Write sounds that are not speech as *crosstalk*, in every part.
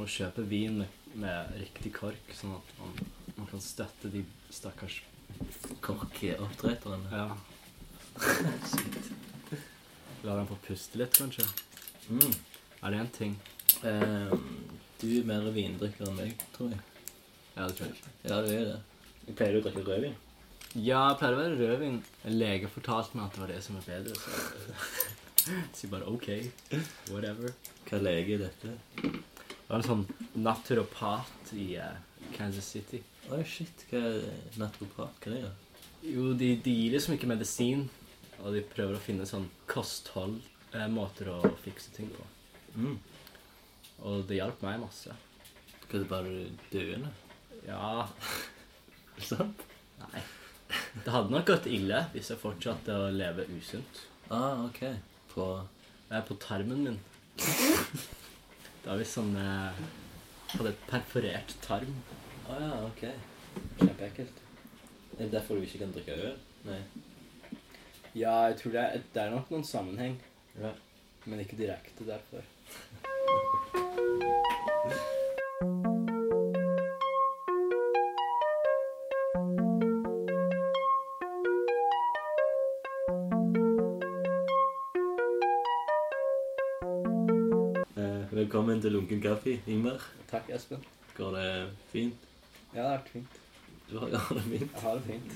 å kjøpe vin med riktig kork, sånn at man, man kan støtte de stakkars Korkoppdretteren. Ja. La dem få puste litt, kanskje. Mm. Er det en ting? Eh, du er mer vindrikker enn meg, tror jeg. Ja, det tror jeg ikke. Ja, du er det. Jeg pleier å drikke rødvin. Ja, jeg pleier å være rødvin. En lege fortalte meg at det var det som var bedre. Så *laughs* jeg sier bare OK. Whatever. Hva lege er dette? Det var en sånn naturopat i eh, Kansas City. Oi, shit. Hva er naturopat-greier? Jo, de, de gir liksom ikke medisin, og de prøver å finne sånn kosthold, eh, måter å fikse ting på. Mm. Og det hjalp meg masse. Hva er det bare du døende? Ja, Sant? nei. Det hadde nok gått ille hvis jeg fortsatte å leve usunt. Ah, ok. På Jeg er på tarmen min. Det er visst sånn eh, Hadde et perforert tarm. Å Ah, ja, ok. Kjempeekkelt. Er det derfor du ikke kan drikke øl? Nei. Ja, jeg tror det er, det er nok noen sammenheng, Ja. men ikke direkte derfor. Eh, velkommen til Lunken kaffe, Ingmar. Takk, Espen. Går det fint? Ja, det har vært fint. Du har, har det fint? Jeg har det fint.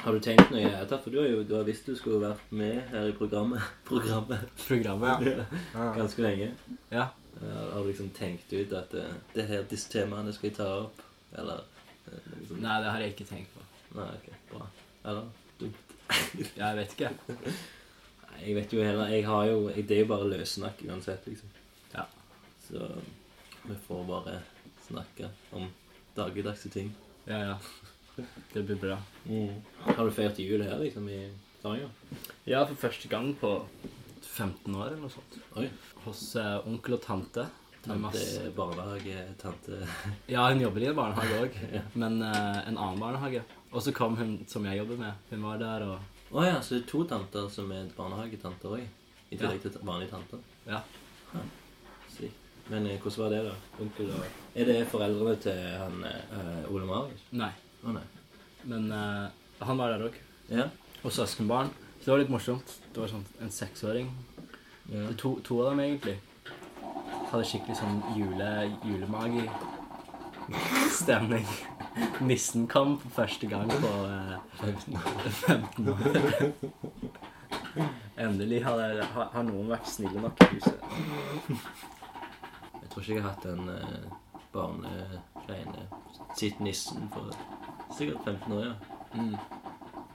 Har du tenkt nøye etter? For du har jo du har visst du skulle vært med her i programmet. programmet. Programmet, ja. Ganske lenge. ja. Eh, har du liksom tenkt ut at eh, det her, disse temaene skal jeg ta opp? Eller eh, liksom, Nei, det har jeg ikke tenkt på. Nei, ok, bra. Eller? Jeg vet ikke. Nei, jeg vet jo heller Jeg har jo jeg, Det er jo bare løssnakk uansett, liksom. Ja. Så vi får bare snakke om dagligdagse ting. Ja, ja. Det blir bra. Mm. Har du feiret jul her, liksom, i Stavanger? Ja, for første gang på 15 år eller noe sånt. Oi. Hos eh, onkel og tante. Det er Tante masse. barnehage, tante Ja, hun jobber i en barnehage òg, *laughs* Ja. men eh, en annen barnehage. Og så kom hun som jeg jobber med. Hun var der og Å ja, så det er to tanter som er barnehagetanter òg? I tillegg til vanlige tanter? Ja. Sykt. Men eh, hvordan var det, da? Onkel og Er det foreldrene til han eh, Ole Marius? Nei. Å nei. Men eh, han var der òg. Ja. Og søskenbarn. Så det var litt morsomt. Det var sånn en seksåring. ja. Det er To, to av dem, egentlig. Hadde skikkelig sånn jule, julemagi-stemning. *laughs* Nissen kom for første gang på eh, 15 år. Endelig har, det- har, har noen vært snille nok i huset. Jeg tror ikke jeg har hatt en eh, barnegreiene siden nissen for sikkert 15 år, ja.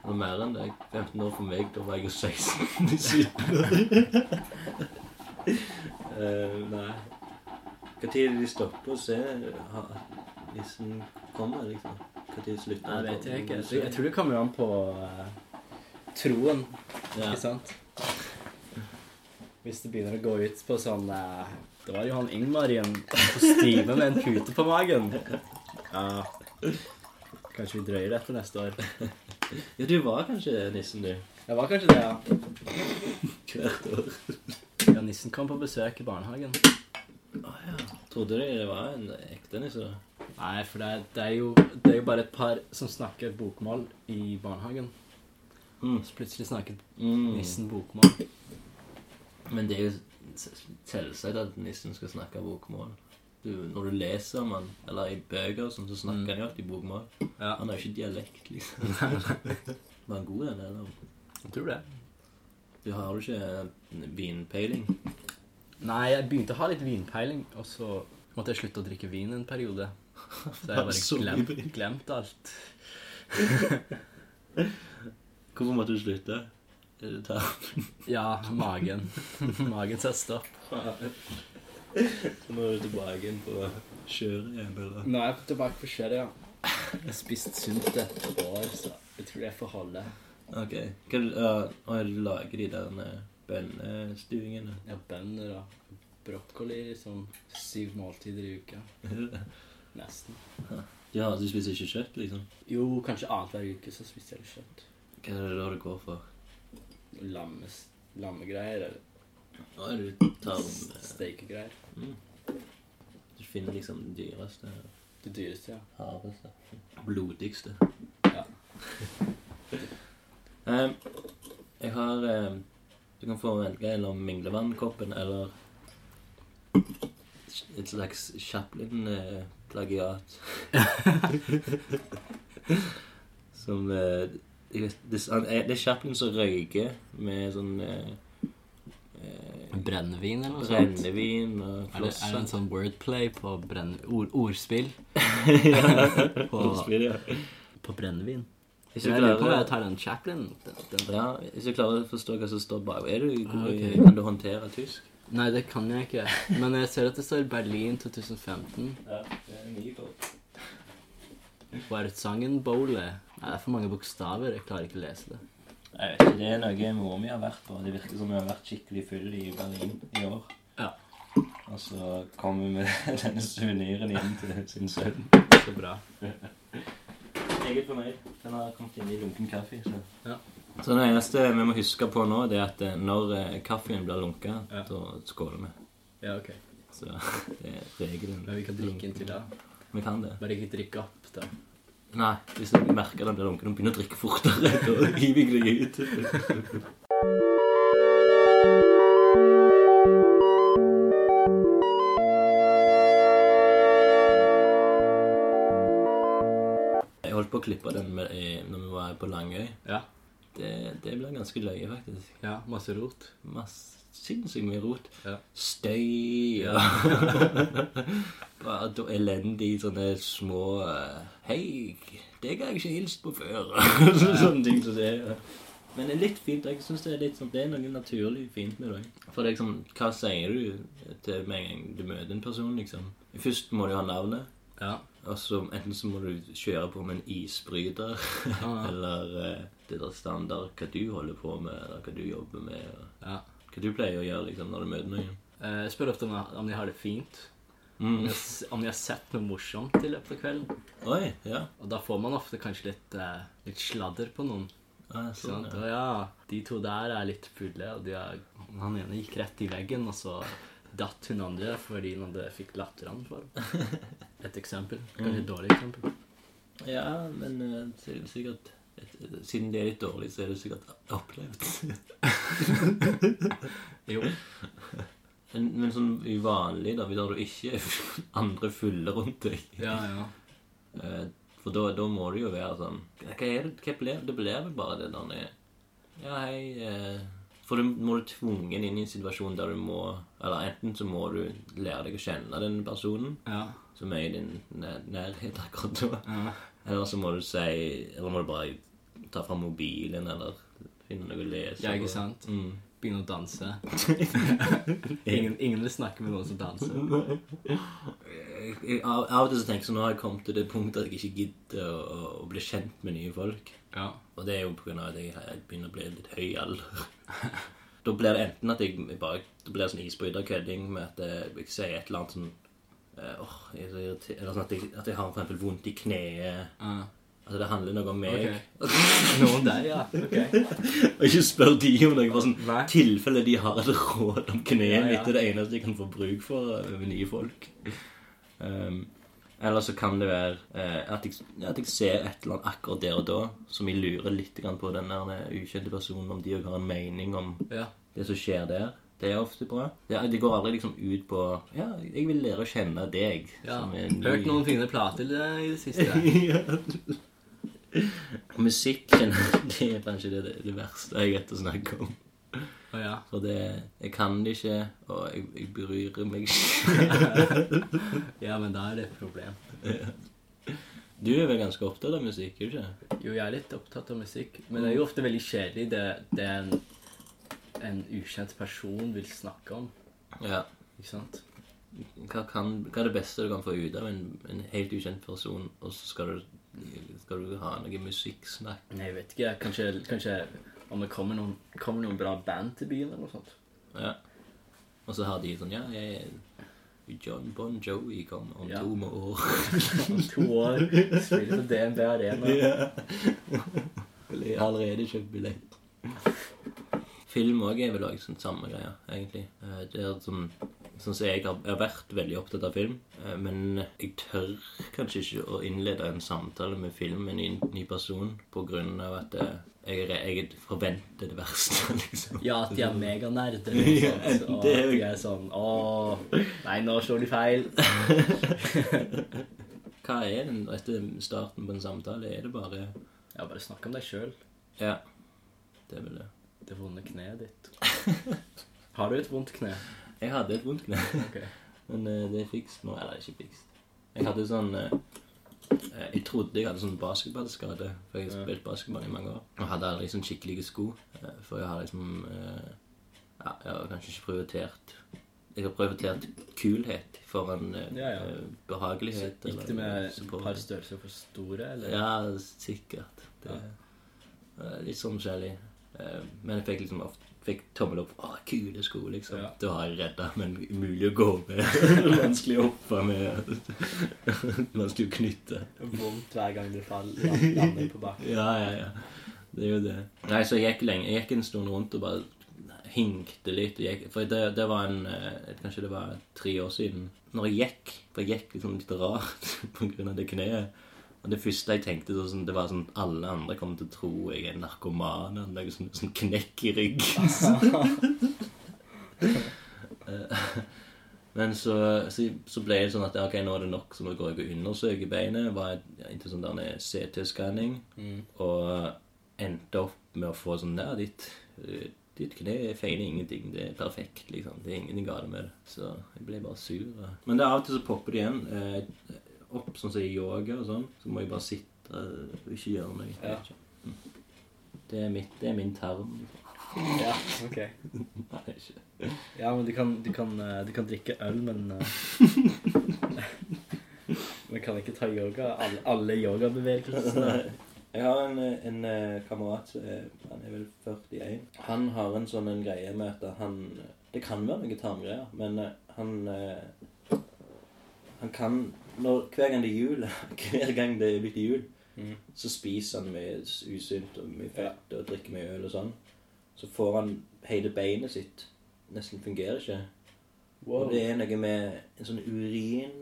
Eller mer enn det. 15 år for meg, da var jeg jo 16 i Syden. *laughs* uh, nei. Når de stopper å se ha- nissen kommer, liksom? Når slutter Nei, vet jeg ikke. Jeg tror det kommer an på eh, troen, ja. ikke sant? Hvis det begynner å gå ut på sånn eh, Det var Johan Ingmar i en kostyme med en pute på magen. Ja. Kanskje vi drøyer dette neste år. ja, du var kanskje nissen, du. Det var kanskje det, ja. Hvert år. Ja, Nissen kom på besøk i barnehagen. Trodde du det var en ekte nisse? da? Nei, for det er, det er, jo, det er jo bare et par som snakker bokmål i barnehagen. Mm. Så plutselig snakker Mm. nissen bokmål. Men det er jo s- selvsagt at nissen skal snakke bokmål. Du, når du leser om han, eller i bøker, og sånn, så snakker Mm. han jo alltid bokmål. Ja, Han har jo ikke dialekt, liksom. *laughs* Var han god, den, eller? jeg tror det. Du har jo ikke eh, vinpeiling. Nei, jeg begynte å ha litt vinpeiling, og så måtte jeg slutte å drikke vin en *laughs* periode. Så jeg Så bare mye glemt, vin. glemt alt. Hvorfor måtte du slutte? Er det tap? Ja, magen. *laughs* Magen sa stopp. *laughs* Så nå er du tilbake inn på kjøret igjen, eller? Nå er jeg tilbake på kjøret, ja. Jeg har spist sunt et år, så jeg tror det får holde. Ok. Hva du, ja, og du lager de der eh, bønnestuingene? Jeg har bønner og brokkoli i sånn syv måltider i uka. Nesten. *laughs* Ja, du spiser ikke kjøtt, liksom? Jo, kanskje annenhver uke så spiser jeg litt kjøtt. Hva er det da du går for? Lammes, lammegreier eller Nå er du tar om... eh, steikegreier. Du finner liksom den dyreste, Det dyreste, ja. hardeste, blodigste. *laughs* Ja. Em, Ehm, jeg har em, Du kan få velge mellom minglevannkoppen eller et slags *laughs* Chaplin-plagiat. som eh, jeg vet, det, er- eh, Det er Chaplin som røyker med sånn eh, eh, Brennevin eller noe sånt? Brennevin og Er det, er det en flosser. sånn wordplay på brenn... Ord, *laughs* ordspill på, på brennevin? Hvis Jeg du lurer på om jeg klarer, tar den Chaplin. Den, den. ja, hvis du klarer å forstå hva som står bak Er du god i ok. Kan du håndtere tysk? Nei, det kan jeg ikke. Men jeg ser at det står Berlin 2015. Ja, det er mye godt. Hva er sangen Bowle? Nei, det er for mange bokstaver. Jeg klarer ikke å lese det. Jeg vet ikke, Det er noe mor mi har vært på. Det virker som hun har vært skikkelig full i Berlin i år. Ja. Og så kom hun med *laughs* denne suveniren hjem til sin sønn. Så bra. Meget fornøyd. Den har kommet inn i lunken kaffe. Så. Ja. så det eneste vi må huske på nå, det er at eh, når eh, kaffen blir lunka, Ja. da skåler vi. Ja, ok. Så *laughs* det er regelen. Men vi kan drikke inntil da. Vi kan det. Bare ikke drikke opp, da. Nei, hvis du merker den blir lunken, begynner å drikke fortere. Da hiver jeg deg ut. Jeg holdt på å klippe den med, eh, når vi var på Langøy. Ja. Det, det ble ganske løye, faktisk. ja. Masse rot. Masse sinnssykt mye rot. Ja. Støy *laughs* og Bare do- elendig sånne små eh, Hei, deg har jeg ikke hilst på før. *laughs* Sånne ting som det er. Men det er litt fint. Jeg synes det er litt sånn, det er noe naturlig fint med det. For det er liksom, hva sier du til med en gang du møter en person, liksom? Først må du ha navnet. Ja. Og så Enten så må du kjøre på med en isbryter, ja. *laughs* eller eh, det der standard hva du holder på med, eller hva du jobber med. Og ja. hva du pleier å gjøre liksom, når du møter noen? Eh, Jeg spør ofte om jeg- om de har det fint. Om Mm. de har s- Om de har sett noe morsomt i løpet av kvelden. Oi, ja. Og da får man ofte kanskje litt, eh, litt sladder på noen. Ah, Ikke sant? sånn, ja. Og ja, de to der er litt fulle, og de er, han ene gikk rett i veggen, og så datt hun andre fordi hun hadde fikk *laughs* latteranfall. Et eksempel. Mm. Kanskje et dårlig eksempel. ja, men eh, så er det sikkert et, et- Siden det er litt dårlig, så er det sikkert *laughs* opplevd. Jo. Men, men sånn i vanlig, da, da du ikke *laughs* er andre fulle rundt deg Ja, ja. Eh, For da, da må det jo være sånn Hva er det? Hva blir det? blir vel bare det der nede. Ja, hei eh, For du må du tvungen inn i en situasjon der du må Eller enten så må du lære deg å kjenne den personen Ja. som er i din nær nærhet akkurat da. ja. Eller så må du si Eller må du bare ta fram mobilen, eller finne noe å lese. Ja, ikke på. sant? Mm. Begynne å danse. *laughs* Ingen, ingen vil snakke med noen som danser. Jeg, jeg, av, av og til så tenker jeg sånn, nå har jeg kommet til det punktet at jeg ikke gidder å, å- å bli kjent med nye folk. Ja. Og det er jo på grunn av at jeg, jeg begynner å bli litt høy i *laughs* alder. da blir det enten at jeg bare Da blir det sånn isbryterkødding med at jeg, jeg sier et eller annet sånn eh, Åh, jeg er så irritert Eller sånn at jeg, at jeg har for eksempel vondt i kneet. ja. Altså det handler noe om meg. Ok. *laughs* Noen der, ja. Ok. *laughs* Og ikke spør de om noe, bare sånn Nei. tilfelle de har et råd om kneet Ja, ja. mitt. Det er det eneste jeg kan få bruk for eh, med nye folk. Um, eller så kan det være eh, at, jeg, at jeg ser et eller annet akkurat der og da som jeg lurer litt grann på den der eh, ukjente personen, om de også har en mening om Ja. det som skjer der. Det er ofte bra. Det, det går aldri liksom ut på Ja, jeg vil lære å kjenne deg. ja. som er ny. Hørt *laughs* noen fine plater eh, i det siste. Ja. Musikken *laughs* det er kanskje det, det verste jeg vet å snakke om. Å ja. For det, jeg kan det ikke, og jeg, jeg bryr meg ikke. ja, men da er det et problem. *laughs* Du er vel ganske opptatt av musikk, er du ikke? Jo, jeg er litt opptatt av musikk, men det er jo ofte veldig kjedelig det, det en, en ukjent person vil snakke om. Ja. Ikke sant? Hva, kan, hva er det beste du kan få ut av en, en helt ukjent person, og så skal du, skal du ha noe musikksnakk? Nei, jeg vet ikke. Kanskje, kanskje om det kommer noen, kommer noen bra band til byen eller noe sånt. Ja. Og så har de sånn Ja, jeg John Bon Jovi kommer om Ja. to må år. Om to år spiller på DNB Arena. *laughs* Eller jeg har allerede kjøpt billett. Film òg er vel også sånn samme greia, egentlig. Eh, Det er sånn Sånn som jeg har jeg har vært veldig opptatt av film, eh, men jeg tør kanskje ikke å innlede en samtale med film med en ny- ny person på grunn av at eh, jeg, er- jeg forventer det verste, *laughs* liksom. Ja, at de er meganerder. Liksom, Ja, og at det er jo- de er sånn Å, nei, nå slår de feil. Hva er den rette starten på en samtale? Er det bare Ja, bare snakk om deg sjøl. Ja, det er vel det. Det vonde kneet ditt. Har du et vondt kne? Jeg hadde et vondt kne. Ok. Men eh, det er fikst nå. Eller ikke fikst. Jeg hadde sånn eh, eh, Jeg trodde jeg hadde sånn basketballskade, for jeg har Ja. spilt basketball i mange år. Og hadde aldri sånn skikkelige sko, eh, for jeg har liksom eh, Ja, jeg har kanskje ikke prioritert Jeg har prioritert kulhet foran eh, Ja, ja. eh, behagelighet. Gikk du med et support. par størrelser for store, *laughs* eller? Ja, sikkert. Det er eh, litt sånn forskjellig. Eh, Men jeg fikk liksom ofte fikk tommel opp. Å, kule sko, liksom. Ja. Da har jeg redda, men umulig å gå med. Vanskelig å hoppe med. *laughs* Vanskelig å knytte. Vondt hver gang du *laughs* faller lander på bakken. Ja, ja, ja. Det er jo det. Nei, så jeg gikk lenge. Jeg gikk en stund rundt og bare hinkte litt. og Gikk, for det, det var en eh, Kanskje det var tre år siden. Når jeg gikk, for jeg gikk liksom litt rart *laughs* på grunn av det kneet. Og det første jeg tenkte, det var sånn, det var sånn alle andre kommer til å tro jeg er narkoman. eller noe Sånn, sånn knekk i ryggen. *laughs* Eh, Men så, så, så ble det sånn at ok, nå er det nok, så nå går jeg og undersøker beinet. Var inntil sånn der en CT-skanning. Og eh, endte opp med å få sånn Ja, ditt, eh, ditt kne feiler ingenting. Det er perfekt, liksom. Det er ingenting galt med det. Så jeg ble bare sur. da. Men det er av og til så popper det igjen. Eh, opp sånn som i yoga og sånn. Så må jeg bare sitte eh, og ikke gjøre noe. Mm. Ja. Det er, mitt, det er min tarm. liksom. Ja, ok. Nei, det er ikke. Ja, men du kan, du kan, eh, du kan drikke øl, men *laughs* eh, Men kan ikke ta yoga? Alle, alle yogabevegelsene? Jeg har en, eh, en eh, kamerat som er- Han er vel 41. Han har en sånn en greie med at han Det kan være noen tarmgreier, men eh, han eh, Han kan når, Hver gang det er jul, *laughs* hver gang det er blitt jul, Mm. så spiser han mye s- usunt og mye fett og drikker mye øl og sånn. Så får han hele beinet sitt Nesten fungerer ikke. Og Wow. det er noe med en sånn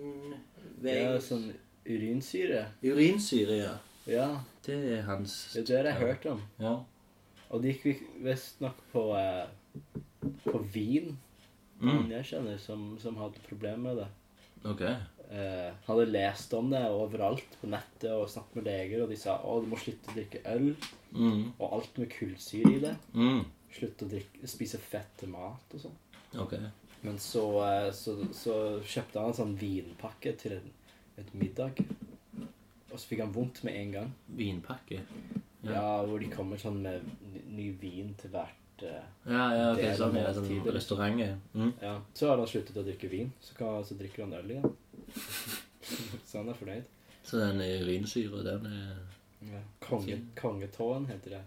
urinvei Ja, sånn urinsyre. Urinsyre, ja. Ja, Det er hans det har jeg hørt om. Ja. Og det gikk visstnok på, eh, på vin. Mm. Noen jeg kjenner som, som hadde problemer med det. Ok. Eh, hadde lest om det overalt på nettet og snakket med leger, og de sa å, du må slutte å drikke øl Mm. og alt med kullsyre i det. Mm. Slutte å drikke, spise fett til mat og sånn. Ok. Men så, eh, så, så kjøpte han en sånn vinpakke til en, et middag. Og så fikk han vondt med en gang. Vinpakke. Ja, Ja. Hvor de kommer sånn med ny- ny vin til hvert eh, Ja, ja, ok. Det er Sånn, det ja, sånn måltider. restaurant. ja. Mm. Ja. Så har han sluttet å drikke vin, så, kan, så drikker han øl igjen. *laughs* så han er fornøyd. Så den urinsyra, den er Konge, kongetåen heter det.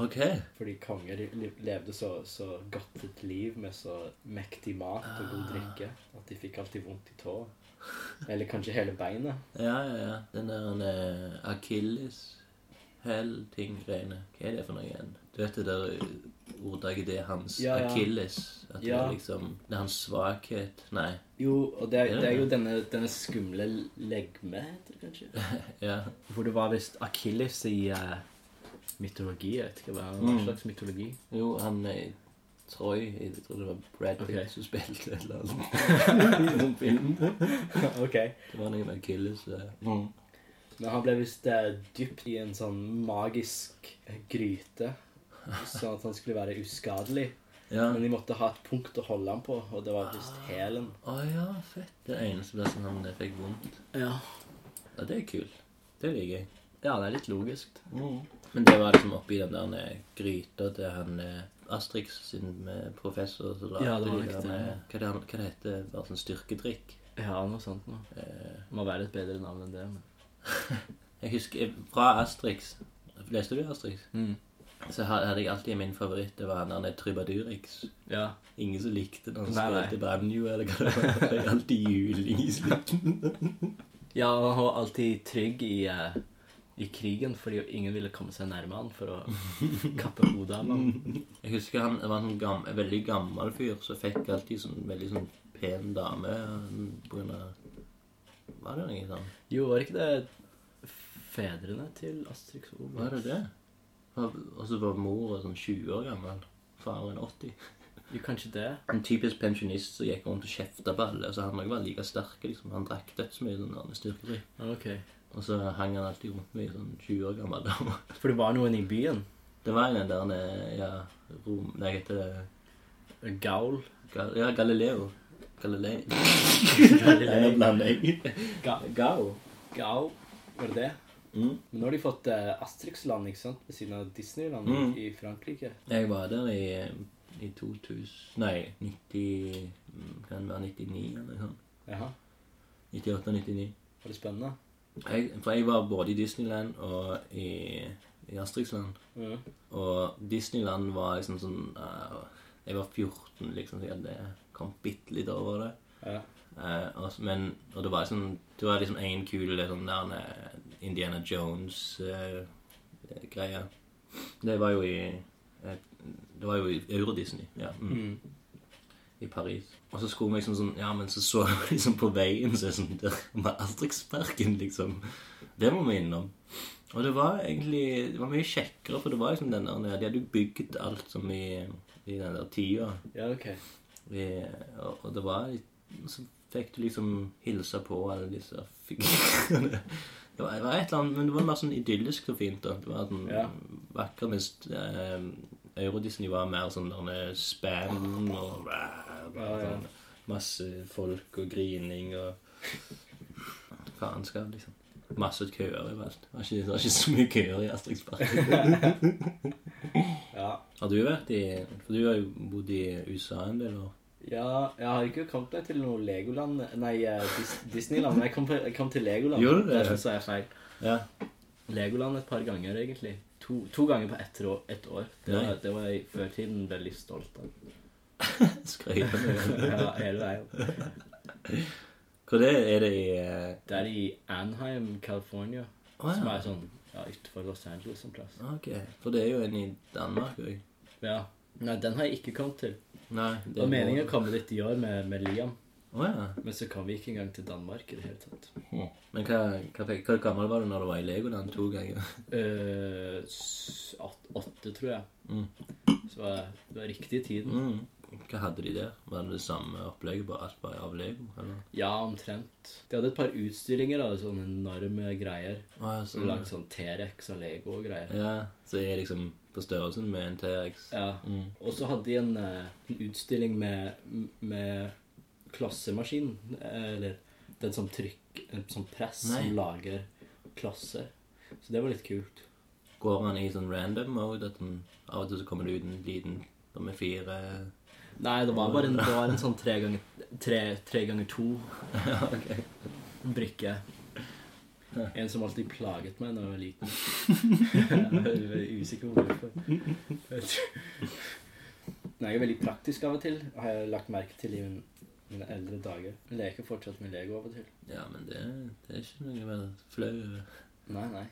Ok. Fordi konger li- levde så, så godt et liv med så mektig mat og god drikke at de fikk alltid vondt i tå. Eller kanskje hele beinet. Ja, ja, ja. Den der den, eh, akilles hell ting greiene Hva er det for noe igjen? Du vet det der eh, ordtaket det er hans Ja, ja. akilles? At det Ja. er liksom Det er hans svakhet Nei. Jo, og det er, Ja. det er jo denne, denne skumle legme, heter det kanskje. Ja. Hvor det var visst Akilles i eh, mytologi. Jeg vet ikke hva, hva Mm. slags mytologi. Jo, han eh, Troy Jeg tror det var Brad Pitt Ok. som spilte et eller annet i den filmen. *laughs* ok. Det var noe med akilles eh. Men han ble visst eh, dypt i en sånn magisk gryte. Sånn at han skulle være uskadelig. Ja. Men de måtte ha et punkt å holde ham på, og det var visst hælen. Å ja, fett. Det eneste plassen han fikk vondt. Ja. Ja, det er kult. Det liker jeg. Ja, det er litt logisk. Men det var liksom oppi den der eh, gryta til han eh, Astrix sin eh, professor som lagde Ja, det var de riktig, der, ja. eh, Hva, det, han- hva det heter det? Bare sånn styrkedrikk? Ja, noe sånt noe. Eh, Må være et bedre navn enn det. Men... jeg husker eh, Fra Astrix Leste du Astrix? Mm. Så ha- hadde jeg alltid min favoritt. Det var han der eh, Trubadurix. Ja. Ingen som likte den. Han Nei, nei. spilte banjo eller hva det var. Det er alltid juling i slutten. ja, han var alltid trygg i, eh, i krigen fordi ingen ville komme seg nærme han for *laughs* å kappe hodet av ham. Jeg husker han det var en sånn gam, en veldig gammel fyr som fikk alltid sånn veldig sånn pen dame på grunn av Var det noe sånn? sånt? Jo, var ikke det fedrene til Astrix og Var Obelix? det det? Og så var mora sånn 20 år gammel. Faren 80. Jo, kanskje det. En typisk pensjonist som gikk rundt og kjefta på alle. Så han òg var like sterk. liksom. Han drakk dødsmye sånn der, styrkedrikk. Ja, Ok. Og så hang han alltid rundt med ei sånn 20 år gammel dame. For det var noen i byen. Det var en den der ja, Rom... Nei, heter det Gaul. Gal Ja, Galileo. Galilei. Galilei. blanding. Ga Gao. Gaul. Var det det? Mm. Men nå har de fått eh, Asterix-land, ikke sant? Ved siden av Disneyland Mm. i Frankrike. Jeg var der i, i 2000 Nei, 90 mm, Kan det være 99 eller sånn. noe sånt? Jaha. 98-99. Var det spennende? For jeg var både i Disneyland og i, i Astrixland. Mhm. Og Disneyland var liksom sånn eh, Jeg var 14, liksom, så jeg hadde kommet bitte litt over det. Ja. Eh, og, s- men, og det var liksom Det var liksom en kul det sånn der eh, Indiana Jones-greie. det var jo i eh, Det var jo i Euro-Disney. Ja. Mm, Mm. I Paris. Og så skulle vi liksom sånn Ja, men så så vi *laughs* liksom på veien så er det sånn Der med Asterix-parken, liksom. Det må vi innom. Og det var egentlig Det var mye kjekkere, for det var liksom den der De hadde jo bygd alt som i, i den der tida. ja, ok. Vi, og, og det var litt Så fikk du liksom hilse på alle disse figurene. Det var, det var et eller annet, men det var mer sånn idyllisk og fint. da. Det var sånn Ja. vakker, mens eh, Euro-Disney var mer sånn der spam og sånn Ja, ja. Masse folk og grining og faenskap, liksom. Masse køer overalt. Det var ikke, det var ikke så mye køer i Astriksparken. *laughs* Ja. Har du vært i For du har jo bodd i USA en del år. ja. Jeg har ikke kommet meg til noe Legoland Nei, eh, Dis Disneyland. Men jeg kom, på, jeg kom til Legoland. Gjorde du det? Derfor sa jeg feil. Ja. Legoland et par ganger, egentlig. To, to ganger på ett år. Ett år. Det, Nei. var, det var jeg i førtiden veldig stolt av. Skrøyter. Ja, hele veien. Hvor det er det i eh, Det er i Anheim, California. Å Som ja. er sånn ja, utenfor Los Angeles en plass. ah, Ok. For det er jo en i Danmark òg. Ja. Nei, den har jeg ikke kommet til. Nei. Det var meningen å komme dit i år med, med Liam, Å ja. men så kom vi ikke engang til Danmark i det hele tatt. Men hva, hva, fikk- hvor gammel var du når du var i Legoland to ganger? Eh, s- åt- åtte, tror jeg. Mm. Så var jeg- det var riktig i tiden. Mm. Hva hadde de der? Var det det samme opplegget, bare alt var av Lego? Eller? Ja, omtrent. De hadde et par utstillinger av sånne enorme greier. Å ja, Så sånn. Lagd sånn T-rex av Lego og greier. Ja, så jeg er liksom på størrelsen med en T-rex. Ja. Mm. Og så hadde de en, eh, en utstilling med, med klassemaskin, eh, eller den som trykk, en sånn press Nei. som lager klasser. Så det var litt kult. Går han i sånn random mode? At den, av og til så kommer det ut en liten med fire *laughs* Nei, det var bare en, det var en sånn tre ganger, tre, tre ganger to Ja, ok. brikke. Ja. En som alltid plaget meg da jeg var liten. *laughs* jeg er veldig usikker på hvorfor. Jeg tror- Nei, jeg er veldig praktisk av og til, har jeg lagt merke til i min, mine eldre dager. Jeg leker fortsatt med Lego av og til. Ja, men det, det er ikke noe å være flau over. Nei, nei.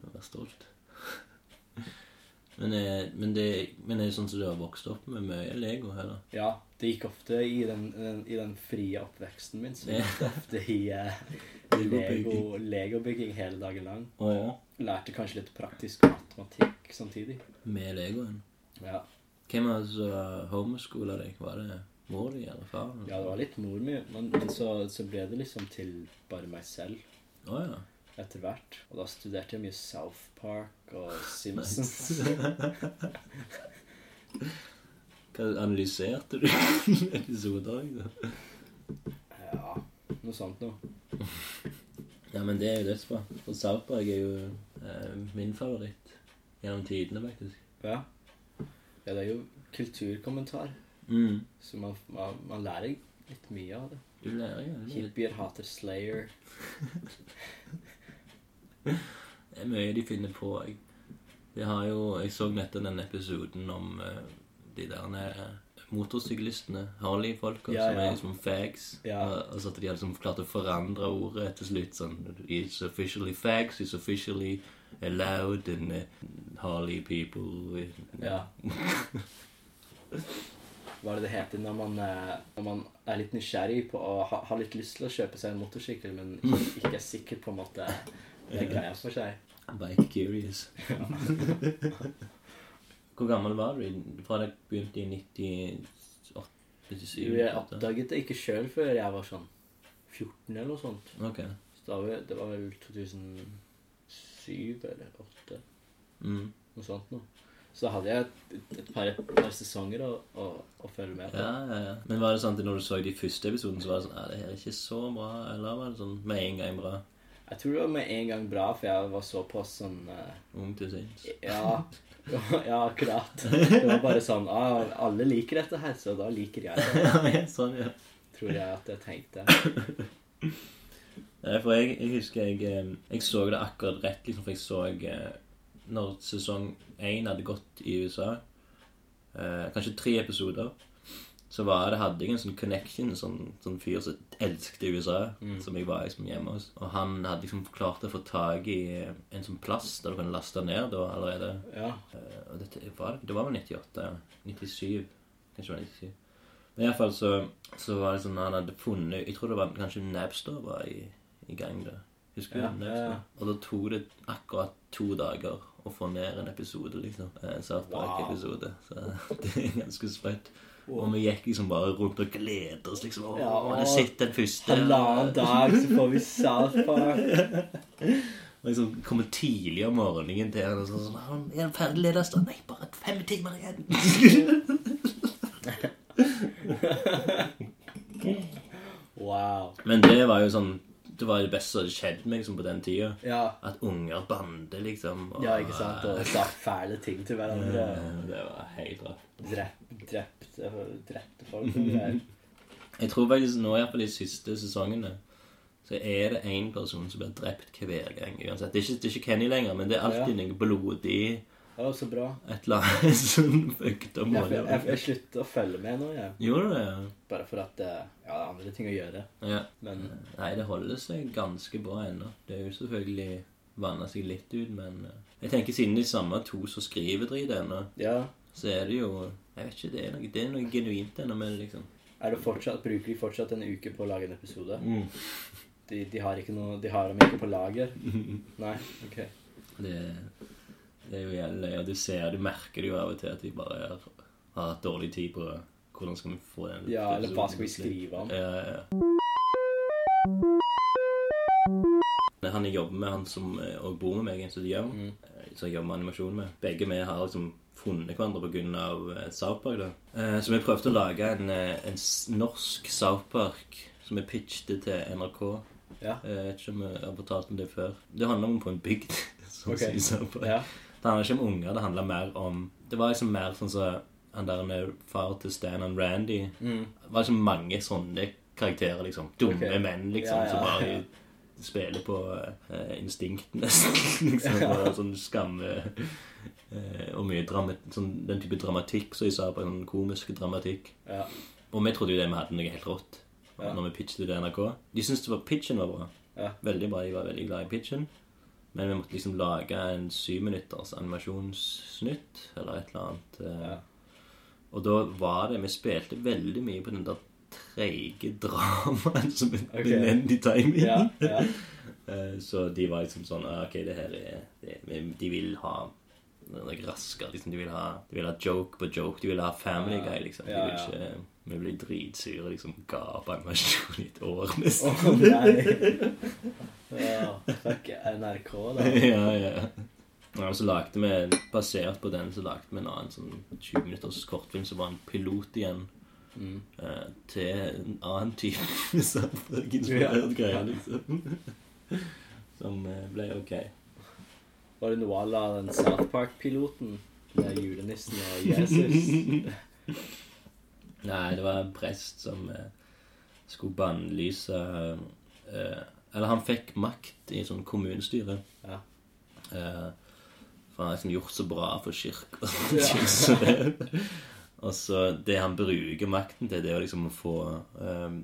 Å være stolt. *laughs* men, eh, men, det, men er det sånn som du har vokst opp med mye Lego, eller? Ja, det gikk ofte i den, den, i den frie oppveksten min, så Ja. gikk det ofte i eh, *laughs* Lego- Lego-bygging hele dagen lang. Å ja. Lærte kanskje litt praktisk matematikk samtidig. Med Legoen. Ja, Hvem var det som homeschoola deg? Var det mor di eller far? ja det var litt mor mi, men, men så, så ble det liksom til bare meg selv Å ja. etter hvert. Og da studerte jeg mye South Park og Simpsons. *laughs* Hva analyserte du *laughs* episoder? Liksom? Ja, noe sånt noe. Ja, men det er jo dødsbra. For Sarpberg er jo eh, min favoritt gjennom tidene, faktisk. Ja. ja, det er jo kulturkommentar, Mm. så man, man, man lærer litt mye av det. Du lærer jo litt. Hippier hater Slayer. Det er mye de finner på. Jeg, de har jo, jeg så nettopp den episoden om eh, de der eh, motorsyklistene, Harley-folka, Ja, som ja. er som fags. Ja. Og, og så at de hadde liksom klart å forandre ordet til slutt. sånn, It's officially fags, it's officially allowed in eh, Harley people. Ja. hva er det det heter når man, eh, når man er litt nysgjerrig på å ha, har litt lyst til å kjøpe seg en motorsykkel, men ikke- ikke er sikker på en måte det er greia for seg. Bike curious. *laughs* Hvor gammel var du i- fra dere begynte i 98? 97? Jeg oppdaget det ikke sjøl før jeg var sånn 14 eller noe sånt. Ok. Så da var jeg- det var vel 2007 eller 2008, Mm. noe sånt noe. Så da hadde jeg et, et, par, et par sesonger å, å, å følge med på. Ja, ja, ja. Men var det sånn at når du så de første episodene, så var det sånn Ja, det her er ikke så bra. Eller var det sånn med en gang bra? Jeg tror det var med en gang bra, for jeg var såpass sånn eh, Ung til sinns. Ja, *laughs* ja, akkurat. Det var bare sånn ah, Alle liker dette her, så da liker jeg det. *laughs* ja, sånn, ja. Tror jeg at jeg tenkte. Nei, for jeg, jeg husker jeg, eh, jeg så det akkurat rett, liksom, for jeg så eh, når sesong én hadde gått i USA, eh, kanskje tre episoder, så var det, hadde jeg en sånn connection, en sånn, sånn fyr som elsket USA, som jeg var liksom hjemme hos. Og han hadde liksom klart å få tak i en sånn plass der du kan laste ned da allerede. Ja. Eh, og dette, var det, det var vel 98, ja. 97. Kanskje det var 97. Men i hvert fall så, så var det sånn han hadde funnet Jeg tror det var kanskje Napster var i, i gang da. Husker du Ja, Napster? ja, ja. Og da tok det akkurat to dager å få ned en episode, liksom. Eh, En South Park-episode. Så *laughs* det er ganske sprøtt. Og vi gikk liksom bare rundt og gledet oss, liksom. Å, Ja, det sitter den første Halvannen dag, så får vi South Park. liksom kommer tidlig om morgenen til henne og sånn sånn, han Er han ferdig lederst? Nei, bare fem timer igjen. *laughs* Wow. Men det var jo sånn Det var jo det beste som hadde skjedd meg liksom, på den tida. Ja. At unger bander, liksom. og- Ja, ikke sant? Og sa fæle ting til hverandre. Eh, Det var helt rått. Drept, drepte, drepte folk. og greier. Jeg tror faktisk nå, iallfall de siste sesongene, så er det én person som blir drept hver gang. uansett. Det er ikke, det er ikke Kenny lenger, men det er alltid noe blodig Det var så bra. et eller annet *laughs* som fucked opp Jeg, jeg, målet. jeg sluttet å følge med nå, jeg. Gjorde du det? ja? Bare for at eh, ja, det er andre ting å gjøre. Ja. Men Nei, det holder seg ganske bra ennå. Det er jo selvfølgelig vanna seg litt ut, men eh, jeg tenker siden de samme to som skriver drit ennå, ja, så er det jo Jeg vet ikke, det er noe, det er noe genuint ennå med det, liksom. er det fortsatt, bruker de fortsatt en uke på å lage en episode? Mm. De, de har ikke noe, de har dem ikke på lager? Nei, ok. Det, det er jo jævlig løye. og Du ser, du merker det jo av og til at de bare har har hatt dårlig tid på hvordan skal vi få den Ja, eller hva episoden skal vi til å bli? skrive om? Ja, ja, ja. Det er Han jeg jobber med, han som eh, også bor med meg i en studio, Mm. som jeg jobber med animasjon med. Begge vi har liksom funnet hverandre pga. South Park. da. Eh, Så vi prøvde å lage en, eh, en s- norsk South Park som vi pitchet til NRK. Ja. Eh, Jeg vet ikke om jeg har fortalt om det før. Det handler om på en bygd. *laughs* som Ok. sier South Park. Ja, Det handler ikke om unger, det handler mer om Det var liksom mer sånn som han der med far til Stan og Randy. Mm. Det var liksom mange sånne karakterer, liksom. Dumme Ok. menn, liksom, Ja, ja, som bare ja. spiller på eh, instinkt, *laughs* nesten. liksom, og sånn skamme eh, Og mye drama, sånn, den type dramatikk som jeg sa, på sånn komisk dramatikk. ja. Og vi trodde jo det vi hadde noe helt rått Ja. når vi pitchet det til NRK. De syntes det var, pitchen var bra. Ja. Veldig bra, De var veldig glad i pitchen. Men vi måtte liksom lage en syvminutters animasjonssnutt eller et eller annet. eh. Ja. Og da var det Vi spilte veldig mye på den der treige dramaen som en Ok. elendig timing. ja, ja. Eh, Så de var liksom sånn ah, Ok, det her er det, men De vil ha noe raskere. Liksom. De, vil ha, de vil ha joke på joke. De vil ha Family Ja. Guy, liksom. De Ja, vil ja. ikke Vi blir dritsure, liksom. Ga opp animasjon i *laughs* et år, nesten. Å nei. Ja, fuck NRK, da. *laughs* ja, ja. Ja, og så lagde vi, Basert på den så lagde vi en annen sånn 20 minutters kortfilm som var en pilot igjen. Mm. eh, til en annen type *laughs* samfunnsforberedt greie, liksom. Som eh, ble ok. Var det noe à la den South Park-piloten? Med julenissen og *laughs* Jesus? Nei, det var en prest som eh, skulle bannlyse eh, Eller han fikk makt i sånn kommunestyre. Ja. Eh, for han har liksom gjort så bra for kirka. *laughs* Ja. og så det han bruker makten til, det er jo liksom å få eh,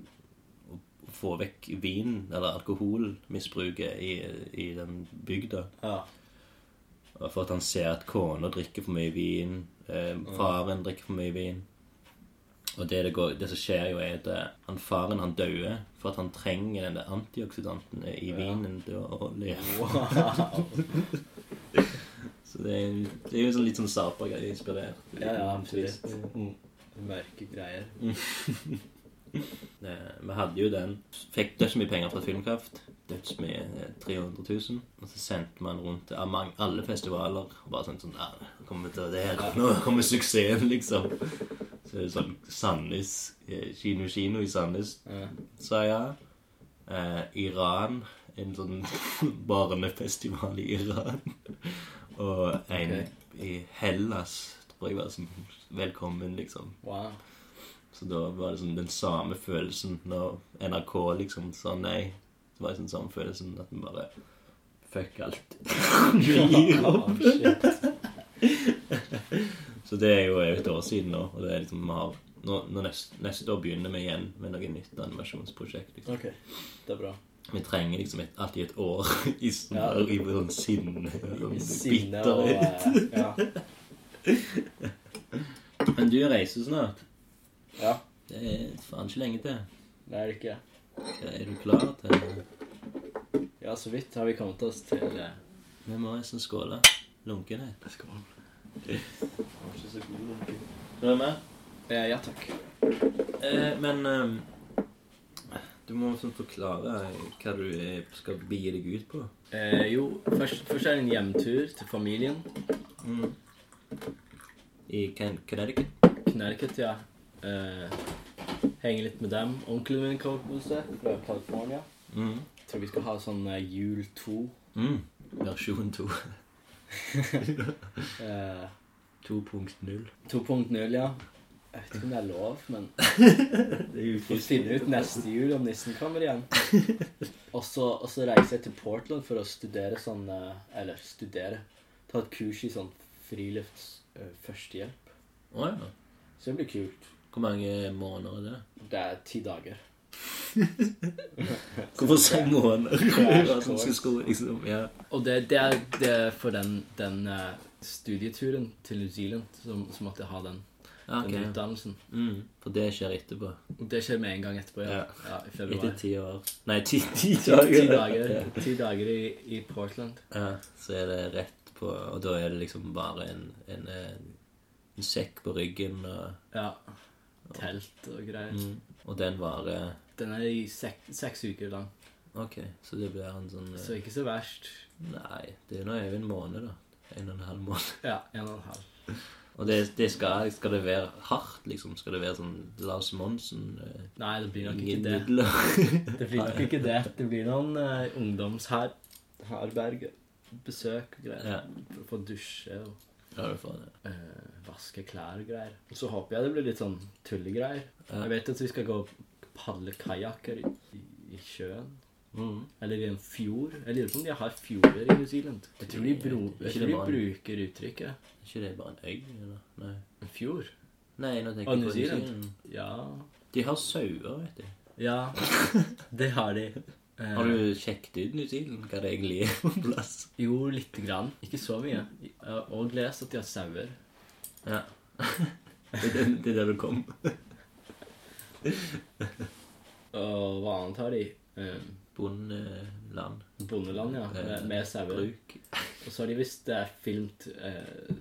å få vekk vin, eller alkoholmisbruket, i, i den bygda. Ja. Og For at han ser at kona drikker for mye vin, eh, faren drikker for mye vin. Og det, det, går, det som skjer, jo er at eh, han faren han dør for at han trenger den der antioksidanten i Ja. vinen til å leve. Wow. Så det er, det er jo sånn litt sånn Sapa-greie inspirert. Ja, ja, absolutt. Mm. Mørke greier. Det, vi hadde jo den. Fikk dødsmye penger fra Filmkraft. Dødsmye eh, 300 000. Og så sendte man rundt til among- alle festivaler. Og bare sånn sånn "Ja, nå kommer vi til det her. Nå kommer suksessen, liksom. Så er det sånn Sandnes eh, Kino Kino i Sandnes Ja. sa jeg. Eh, Iran. En sånn *laughs* barnefestival i Iran. Og en Ok. i Hellas, tror jeg var sånn velkommen, liksom. Wow. Så da var det sånn den samme følelsen når NRK liksom sa nei. Så var det sånn samme følelsen at vi bare Fuck alt. Vi gir opp. Oh, shit. Så det er jo et år siden nå, og det er liksom vi har nå, nå neste, neste år begynner vi igjen med noe nytt animasjonsprosjekt. Liksom. Ok, det er bra. Vi trenger liksom et, alltid et år *laughs* i sånn, Ja. i sånn sinne. Sånn Sinne og bitterhet. eh, Ja. Men du reiser snart. ja. Det er faen ikke lenge til. Det er det ikke. Er du klar til Ja, så vidt har vi kommet oss til eh, Vi må nesten skåle. Lunkenhet. Skål. Er du med? eh, Ja takk. Eh, men ehm, du må sånn forklare hva du eh, skal begi deg ut på. Eh, jo, først, først er det en hjemtur til familien. Mm. I Ken Connecticut. Connecticut, ja. Eh, henge litt med dem. Onkelen min kommer på besøk fra California. Mm. Tror vi skal ha sånn eh, jul to. Mm. Versjon 2. Eh, 2.0. 2.0, ja. Jeg vet ikke om det er lov, men Det er jo vi finner ut neste jul om nissen kommer igjen. Og så, og så reiser jeg til Portland for å studere sånn eh, Eller studere. Ta et kurs i sånn frilufts eh, førstehjelp. Å ja. Så det blir kult. Hvor mange måneder er det? Det er ti dager. Hvorfor si måneder? Det er jo at man skal course. sko- liksom. Ja. Og det, det, er, det er for den, den eh, studieturen til New Zealand som, som måtte jeg ha den, Ja, den ok. utdannelsen. Mm. For det skjer etterpå. Og det skjer med en gang etterpå, ja. Ja. ja I Etter februar. ti år. Nei, *laughs* ti, ti Ti, dager. ti dager, ti dager i, i Portland. Ja, så er det rett på Og da er det liksom bare en, en, eh, en sekk på ryggen og Ja. Telt og greier. Mm. Og den varer Den er i sek, seks uker lang, Ok, så det blir en sånn eh, så ikke så verst. Nei, det er nå over en måned, da. En og en halv måned. Ja, en og en halv. Og det, det skal, skal det være hardt, liksom? Skal det være sånn Lars Monsen? eh, Nei, det blir nok ikke ingen det. midler? Det blir nok ikke det. Det blir noen uh, ungdomsherberg, besøk og greier. ja, For å få dusje og ja, du får det. eh, vaske klær og greier. Og så håper jeg det blir litt sånn tullegreier. Ja. Jeg vet at vi skal gå og padle kajakker i, i, i sjøen. Mm. Eller i en fjord. Jeg lurer på om de har fjorder i New Zealand. Jeg tror de, bro, Ikke jeg tror det de var en- bruker uttrykket. Er ikke det bare en øy? Eller? Nei. En fjord? Nei, nå tenker Å, jeg New på Zealand. Zealand. Ja De har sauer, vet du. Ja, *laughs* det har de. Eh, Har du sjekket ut New Zealand? Hva det egentlig er for en plass? Jo, lite grann. Ikke så mye. Eh, Og lest at de har sauer. Ja. *laughs* Det er det- det er der du kom. Og hva annet har de? Eh, Bondeland. Bondeland, ja. Med, med sauer. Bruk. Og så har de visst det er filmt eh,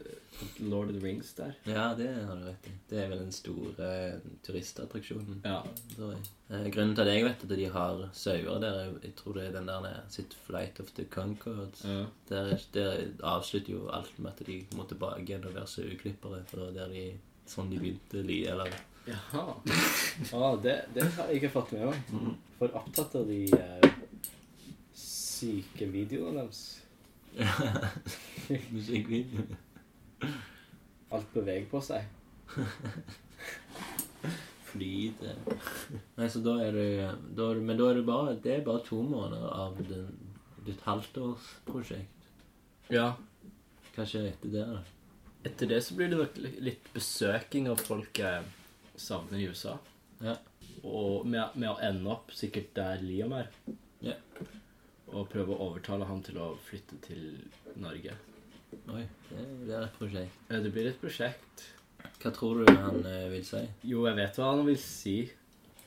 Lord of the Rings der. Ja, det har du rett i. Det er vel den store eh, turistattraksjonen. Ja. tror jeg. Eh, Grunnen til at jeg vet at de har sauer der, er jo- jeg tror det er den der nede, sitt Flight of the Conchords. ja. Der, der avslutter jo alt med at de må tilbake igjen og være saueklippere. For det var der de, sånn de begynte li, eller Jaha. Ah, det, det har jeg ikke fått med meg. For opptatt av de eh, syke videoene deres. musikkvideoen. Alt beveger på seg. Flyt eh. Nei, så da er det, da er, det- Men da er det bare Det er bare to måneder av den, ditt halvtårsprosjekt. Ja. Hva skjer etter det, da? Etter det så blir det nok li- litt besøking av folk jeg savner i USA. Ja. Og med, med å ende opp sikkert der Liam er. Ja. Og prøve å overtale han til å flytte til Norge. Oi, det, det er et prosjekt. Eh, Det blir et prosjekt. Hva tror du han eh, vil si? Jo, jeg vet hva han vil si.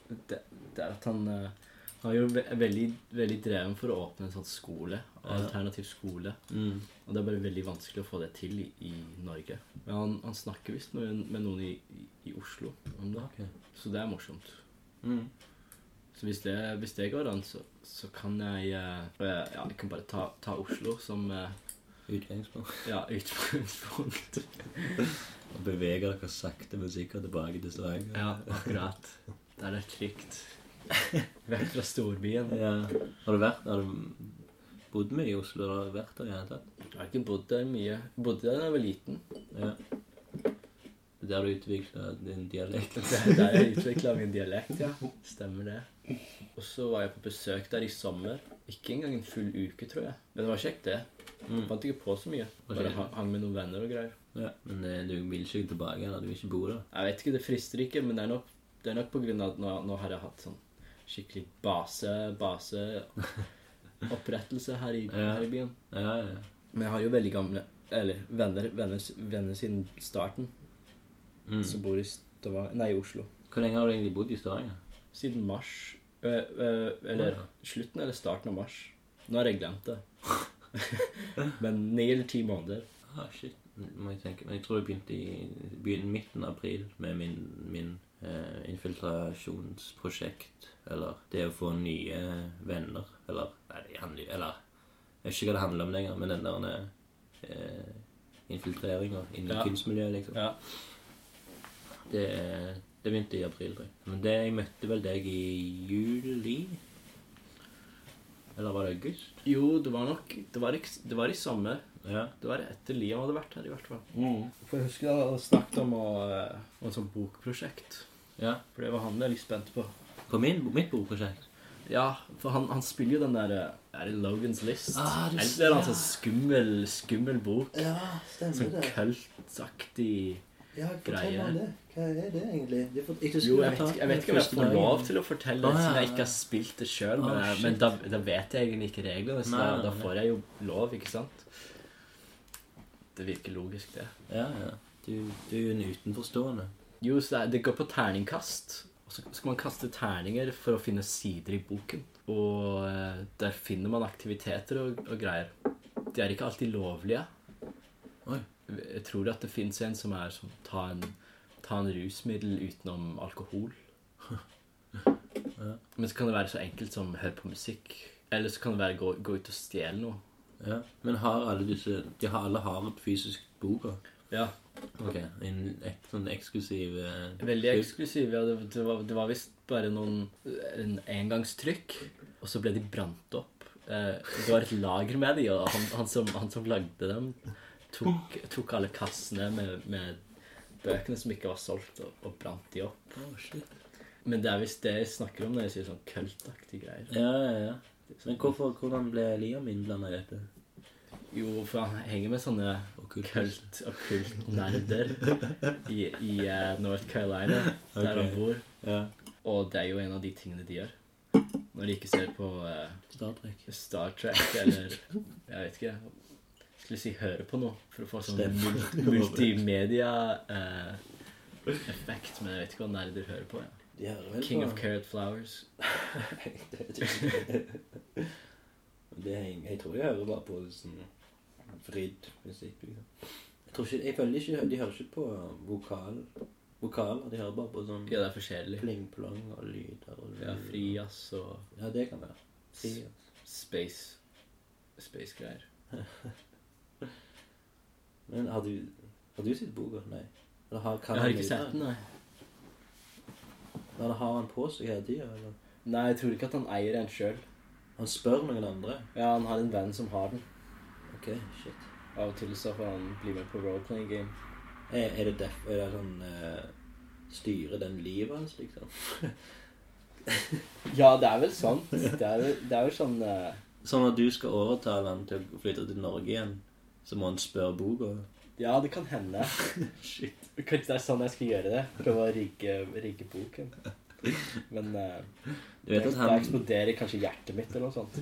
Det, det er at han eh, Han er jo ve veldig, veldig dreven for å åpne en sånn skole. Alternativ skole. Mm. Og det er bare veldig vanskelig å få det til i, i Norge. Men han, han snakker visst noen- med noen i, i, i Oslo om det. Ok. Så det er morsomt. Mm. Så hvis det, hvis det går an, så, så kan jeg eh, eh, Ja, jeg kan bare ta, ta Oslo som eh, Utgangspunkt. ja, utgangspunkt. Og beveger dere sakte, men sikkert tilbake til Stavanger. Ja, akkurat. Der det er trygt. Vekk fra storbyen. Ja. Har du vært Har du bodd mye i Oslo? Har du vært der i det hele tatt? Jeg har ikke bodd der mye. Jeg bodde der da jeg var liten. Ja. Der du utvikla din dialekt? Det er Der jeg utvikla min dialekt, ja. Stemmer det. Og så var jeg på besøk der i sommer. Ikke engang en full uke, tror jeg. Men det var kjekt, det. Mm. Fant ikke på så mye. Bare hang- hang med noen venner og greier. Ja. Men eh, du vil ikke tilbake eller du vil ikke bo der? Jeg vet ikke, det frister ikke, men det er nok, det er nok på grunn av at nå, nå har jeg hatt sånn skikkelig base, baseopprettelse her, i- Ja. her i byen. Ja, ja. Men jeg har jo veldig gamle Eller venner, venner, venner siden starten Mm. som bor i Stavanger Nei, i Oslo. Hvor lenge har du egentlig bodd i Stavanger? Siden mars. Ø, ø, eller Ja. slutten eller starten av mars. Nå har jeg glemt *laughs* det. Men ni eller ti måneder. Ah, shit. Må jeg tenke. Men jeg tror jeg begynte i begynte midten av april med min, min eh, infiltrasjonsprosjekt. Eller det å få nye venner. Eller nei, det handler, eller Jeg vet ikke hva det handler om lenger, men den der eh, infiltreringa innen Ja. kunstmiljøet, liksom. Ja. Det, det begynte i april, tror jeg. Men det, jeg møtte vel deg i juli? Eller var det august? Jo, det var nok Det var, ikke, det var i sommer. Ja. Det var etter Liam hadde vært her, i hvert fall. Mm. For jeg husker han hadde snakket om, å, ø, om et sånt bokprosjekt. ja. For det var han jeg er litt spent på. På min, mitt bokprosjekt. Ja, for han, han spiller jo den der ø, Er det Logan's List? Ah, du er s- det en ja. sånn skummel, skummel bok? Ja, stemmer Sånn det. kultaktig Ja, fortell greie. meg om det. Hva er det egentlig? Det er for... Jeg Jo, husker jeg vet, ikke- jeg vet ikke om jeg får lov til å fortelle Å, ja. siden jeg ikke har spilt det sjøl, men, Å, jeg- shit. men da, da vet jeg egentlig ikke reglene, så Nei, da, nei, da nei. får jeg jo lov, ikke sant? Det virker logisk, det. Ja, ja. Du, du er jo en utenforstående. Jo, så det, er- det går på terningkast. Og så skal man kaste terninger for å finne sider i boken. Og eh, der finner man aktiviteter og, og greier. De er ikke alltid lovlige. Oi. Jeg tror at det fins en som er sånn ta en, ta en rusmiddel utenom alkohol. Men så kan det være så enkelt som hør på musikk. Eller så kan det være gå, gå ut og stjele noe. Ja. Men har alle disse De har alle har et fysisk bok også? Ja, Ok. En ek, sånn eksklusiv eh, Veldig bok. eksklusiv. Ja. Det, det var, det var visst bare noen en engangstrykk, og så ble de brant opp. Eh, det var et lager med de, og han, han, som, han som lagde dem, tok, tok alle kassene med, med bøkene som ikke var solgt, og, og brant de opp. Å, shit. Men det er visst det jeg snakker om når jeg sier sånn kultaktige greier. Ja, ja, ja. Men hvorfor, hvordan ble Liam innblanda i dette? Jo, for han henger med sånne Okkult. kult og *laughs* nerder i, i eh, North Carolina, der Ok. han bor. Ja. Og det er jo en av de tingene de gjør. Når de ikke ser på eh, Star Trek. Star Trek *laughs* eller Jeg vet ikke. Jeg skulle si høre på noe for å få sånn Stemmer. *laughs* mul- multimedia-effekt. men jeg vet ikke hva nerder hører på. De Ja. hører vel King på- of Carrot Flowers. det vet jeg ikke. *laughs* Men det henger- jeg tror jeg hører bare på sånn vridd musikk. Liksom. Jeg tror ikke, jeg føler ikke, De hører ikke på um, vokal, vokaler. De hører bare på sånn Ja, det er forskjellig. pling-plong og lyder og Ja, frijazz og Ja, det kan være. Fri, ja. space space-greier. Men har du, har du sett boka? Nei. Eller har, kan Jeg har han ikke lyde? sett den, nei. Eller har han på seg hele tida? Eller Nei, jeg tror ikke at han eier en sjøl. han spør noen andre? Ja, han har en venn som har den. Ok, shit. Av og til så får han bli med på roleplaying game. Er, er det def, er det sånn eh, Styrer den livet hans, liksom? Ja, det er vel sant. *laughs* Det er, vel- det er vel sånn eh, Så når du skal overtale han til å flytte til Norge igjen, så må han spørre boka? Ja, det kan hende. Shit. Kanskje det er sånn jeg skal gjøre det. Prøve å rigge, rigge boken. Men eh, Du det- vet at da han, eksploderer kanskje hjertet mitt eller noe sånt.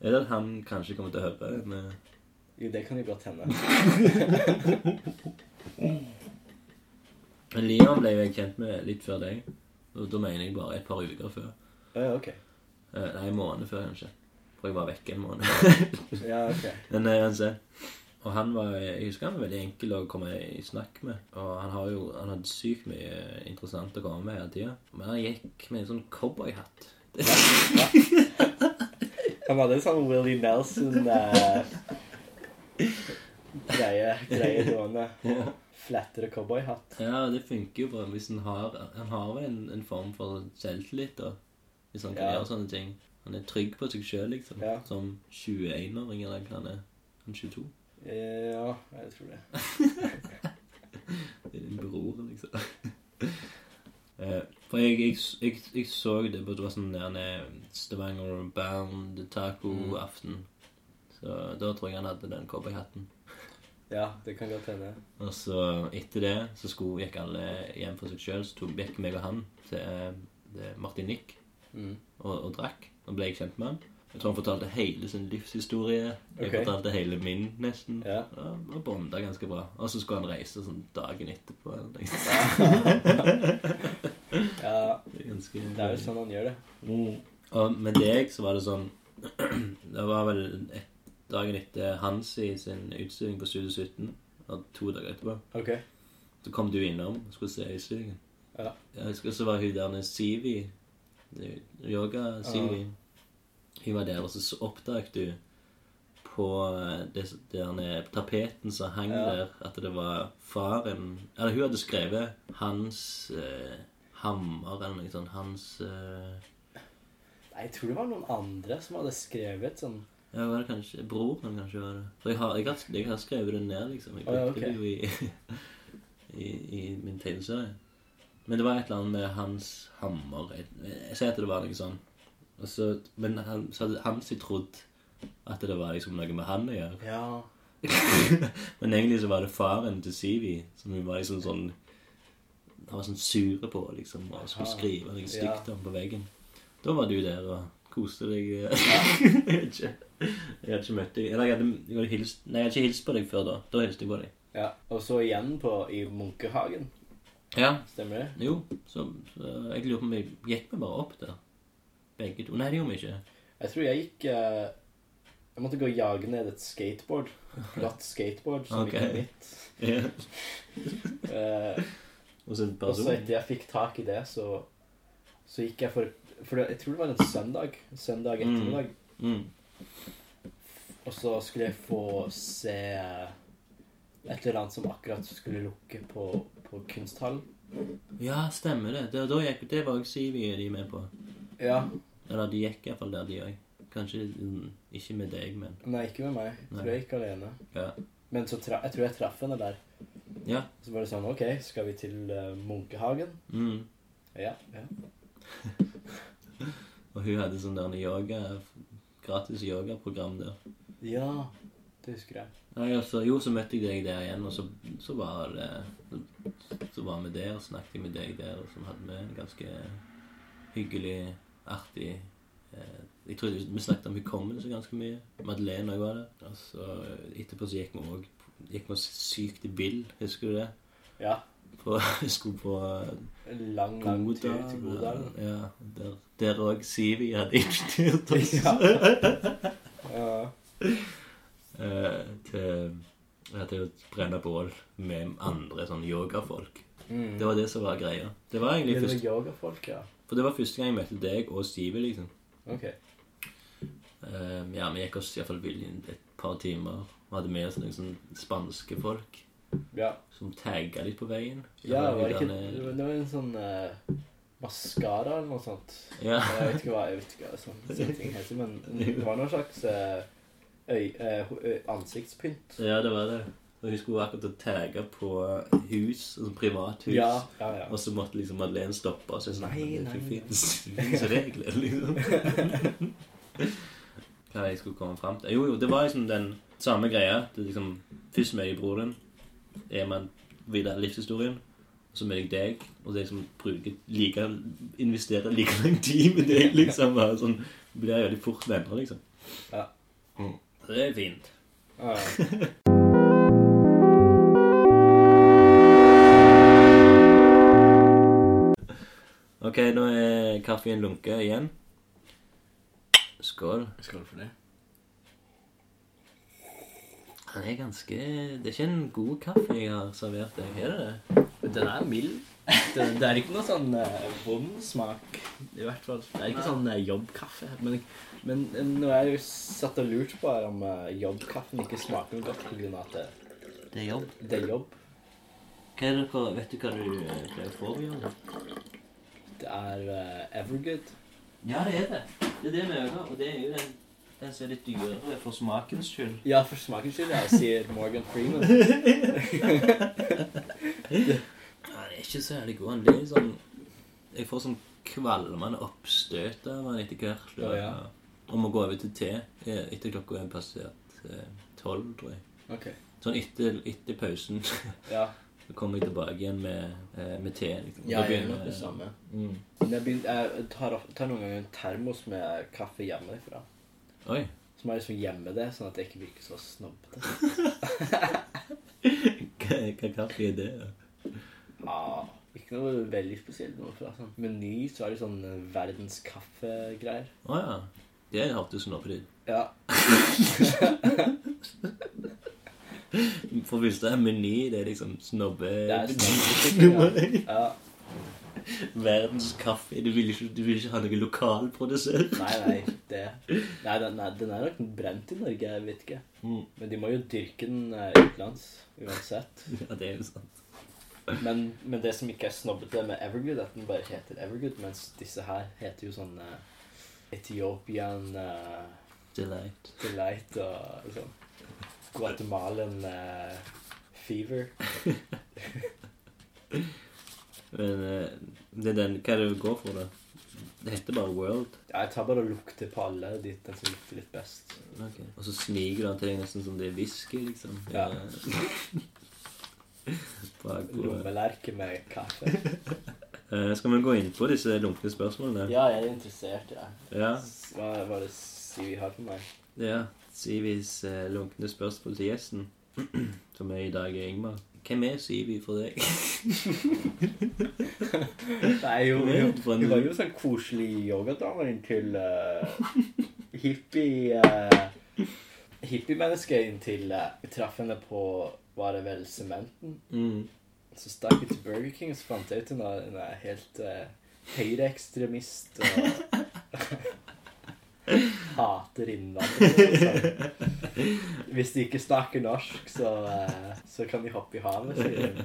vet at han kanskje kommer til å høre det? men- Jo, det kan jo godt hende. Men Liam ble jo jeg kjent med litt før deg. Og da mener jeg bare et par uker før. Å ja, ok. Eh, Nei, en måned før, kanskje. For jeg var vekke en måned. *laughs* Ja, ok. Men eh, uansett. Og han var, jeg husker han var veldig enkel å komme i snakk med. Og han, har jo, han hadde sykt mye interessant å komme med hele tida. Men han gikk med en sånn cowboyhatt. Han hadde en sånn Willie eh, Nelson-greie greie gående. Flettere cowboyhatt. Ja, det funker jo bra hvis han har Han har vel en, en form for selvtillit, da. Hvis han kan Ja. gjøre sånne ting. Han er trygg på seg sjøl, liksom. Ja. Som 21-åring eller hva han er. Han er 22. Eh, Ja, jeg tror det. Det er din bror, liksom. *laughs* Eh, For jeg, jeg, jeg, jeg så det på det var sånn der nede, Stavanger Bound Mm. taco-aften. Så da tror jeg han hadde den cowboyhatten. Ja, det kan godt hende. Og så etter det så skulle, gikk alle hjem for seg sjøl. Så tok- gikk meg og han til eh, det Martinique Mm. og, og drakk. Og ble jeg kjent med han. Jeg tror han fortalte hele sin livshistorie. Jeg Ok. fortalte hele min, nesten. Ja. Og, og bonda ganske bra. Og så skulle han reise sånn dagen etterpå. eller noe sånt. *laughs* Ja, Det er ganske det er jo sånn han gjør det. Og med deg så var det sånn *clears throat* Det var vel et, dagen etter Hansi sin utstilling på Studio 17. Og to dager etterpå. Ok. Så kom du innom og skulle se utstillingen. Ja. Jeg husker så var hun der nede Sivi. det- Yoga-Sivi. Hun var der, og så oppdaget du på eh, det, der nede, tapeten som hang Ja. der, at det var faren Eller hun hadde skrevet 'Hans eh, hammer' eller noe sånt. Hans eh, Nei, jeg tror det var noen andre som hadde skrevet sånn Ja, var det kanskje Broren kanskje var det. For jeg har, jeg har, jeg har skrevet det ned, liksom. Jeg Å, ja, brukte det jo *laughs* i, i, i min tegneserie. Men det var et eller annet med hans hammer Jeg, jeg sier at det var noe sånn. Og så, men han, så hadde Hansi trodd at det var liksom noe med han å gjøre. Ja. *laughs* Men egentlig så var det faren til Sivi som hun var liksom sånn Han var sånn sure på, liksom, og skulle Aha. skrive noe Ja. stygt om på veggen. Da var du der og koste deg. eh. *laughs* jeg vet ikke. Jeg hadde ikke møtt deg Eller jeg hadde, jeg hadde hilst Nei, jeg hadde ikke hilst på deg før da. Da hilste jeg på deg. ja. Og så igjen på, i Munkehagen. Ja. Stemmer det? Jo, så, så jeg lurer på om vi Gikk vi bare opp der? Begge to? Nei, det gjorde vi ikke. Jeg tror jeg gikk eh, Jeg måtte gå og jage ned et skateboard. Et glatt skateboard som Ok. ikke er mitt. *laughs* Eh, Og så en Og så person. etter jeg fikk tak i det, så, så gikk jeg for For det, jeg tror det var en søndag. Søndag Mm. ettermiddag. Mm. Og så skulle jeg få se et eller annet som akkurat skulle lukke på, på kunsthallen. Ja, stemmer det. Det, da gikk, det var jo Sivi og de med på. Ja. Eller de gikk iallfall der, de òg. Kanskje mm, ikke med deg, men Nei, ikke med meg. Jeg tror jeg gikk alene. Ja. Men så tra jeg tror jeg traff henne der. Ja. Så var det sånn OK, skal vi til eh, Munkehagen? Mm. Ja. ja. Og hun hadde sånn der yoga, gratis yogaprogram der. Ja, det husker jeg. Nei, altså, jo, så møtte jeg deg der igjen, og så, så var det Så var vi der, og snakket jeg med deg der, og så hadde vi en ganske hyggelig, artig eh, Jeg tror vi snakket om hukommelse ganske mye. Madeleine òg var der. Og så etterpå så gikk vi òg Gikk vi sykt i bill, husker du det? Ja. På, *laughs* skulle på Lang, lang tur Godal. til Godalen. Ja, der- der òg Sivi hadde innstyrt oss. *laughs* Ja. Ja. eh, til, ja, til å brenne bål med andre sånn yogafolk. Mm. Det var det som var greia. Det var egentlig Men det var først, yogafolk, ja. for det var første gang jeg møtte deg og Steve, liksom. Ok. Eh, ja, vi gikk oss iallfall vill inn et par timer. Vi hadde med oss noen sånne spanske folk Ja. som tagga litt på veien. Ja, Så var det, ikke, gjerne- det var- det var en sånn uh, maskara eller noe sånt. Ja. Jeg vet ikke hva, jeg vet ikke hva sånn, sånne ting heter, men det var noe slags eh, øy, eh, ho- øy, ansiktspynt. ja, det var det. Og hun skulle akkurat å tagge på hus, altså privathus. Ja, ja, ja. Og så måtte liksom Madeleine stoppe og si sånn Nei, Nei, nei, nei, det fins *laughs* fins regler, liksom. *laughs* Hva jeg skulle komme frem til Jo, jo, det var liksom den samme greia. Det er liksom, Først møter jeg broren din. Er man videre i livshistorien? Og så møter jeg deg, og det er liksom bruker like, investerer like lang tid med *laughs* deg, liksom. Bare sånn, blir veldig fort venner, liksom. Ja. Mm. Så det er fint. Ja, Ok, nå er kaffen lunket igjen. Skål. Skål for det. Den er ganske Det er ikke en god kaffe jeg har servert deg, er det det? Den er mild. Det, det er ikke noe sånn eh, vond smak. I hvert fall. Det er ikke sånn eh, jobbkaffe. Men, men eh, nå er jeg jo satt og lurt på her om eh, jobbkaffen ikke smaker noe godt pga. at det, Det er jobb. det er jobb. Hva er det for, Vet du hva du eh, pleier å få i jobb? Det er eh, Evergood. Ja, det er det. Det er det vi øker, og det er jo den, den som er litt dyrere for smakens skyld. Ja, for smakens skyld, ja, sier Morgan Freeman. Det Ja, det er ikke særlig god. Han blir sånn Jeg får sånn kvalmende oppstøt av han etter hvert. Og, Å, ja. og må gå over til te eh, etter klokka er passert eh, tolv, tror jeg. Ok. Sånn etter, etter pausen Ja, så kommer jeg tilbake igjen med, eh, med te. Liksom. ja Da jeg gjør begynner- nok det samme. Mm. Men jeg, begynner, jeg tar, of- tar noen ganger en termos med kaffe hjemmefra. Oi. Som er liksom gjemme det, sånn at jeg ikke virker så snobbete. Hva, hva kaffe er det? da? Ja, Ah, ikke noe veldig spesielt noe fra sånn. Meny så er det sånn eh, verdenskaffegreier. Å ja. Det hørtes sånn opp i det. Ja. For hvis det er meny, det er liksom snobbe... Det er *laughs* snobbete. Ja. *laughs* ja. Verdens kaffe. Du vil ikke, du vil ikke ha noe lokalprodusert. Nei, nei, det Nei, den er, den er nok brent i Norge, jeg vet ikke. Mm. Men de må jo dyrke den eh, utenlands uansett. Ja, det er jo sant. Men, men det som ikke er snobbete med Evergood, er at den bare heter Evergood, mens disse her heter jo sånn eh, Ethiopian eh, Delight. Delight og liksom Guatemalan eh, Fever. Men eh, det er den, hva er det du går for, da? Det heter bare World. Ja, jeg tar bare og lukter på alle de, den som lukter litt best. Og så sniker du den til deg nesten som det er whisky, liksom. *laughs* Ja. Bakpå. Lommelerke med kaffe. Eh, skal vi gå inn på disse lunkne spørsmålene? Ja, jeg er interessert, jeg. Ja. S- Hva hva er det Sivi har for meg? ja. Sivis eh, lunkne spørsmål til gjesten, *clears throat* som er i dag er Ingmar. Hvem er Sivi for deg? Nei, jo, Kom jo. igjen, for en- Hun var jo sånn koselig yogadamen til *laughs* eh, hippie... eh, hippie-menneske inntil eh, vi traff henne på, var det vel, sementen. Mm. *laughs* Så stakk vi til Burger King, og så fant jeg ut hun er- hun er helt uh, høyreekstremist og *laughs* hater innvandrere. Så Hvis de ikke snakker norsk, så, eh, så kan de hoppe i havet, sier hun.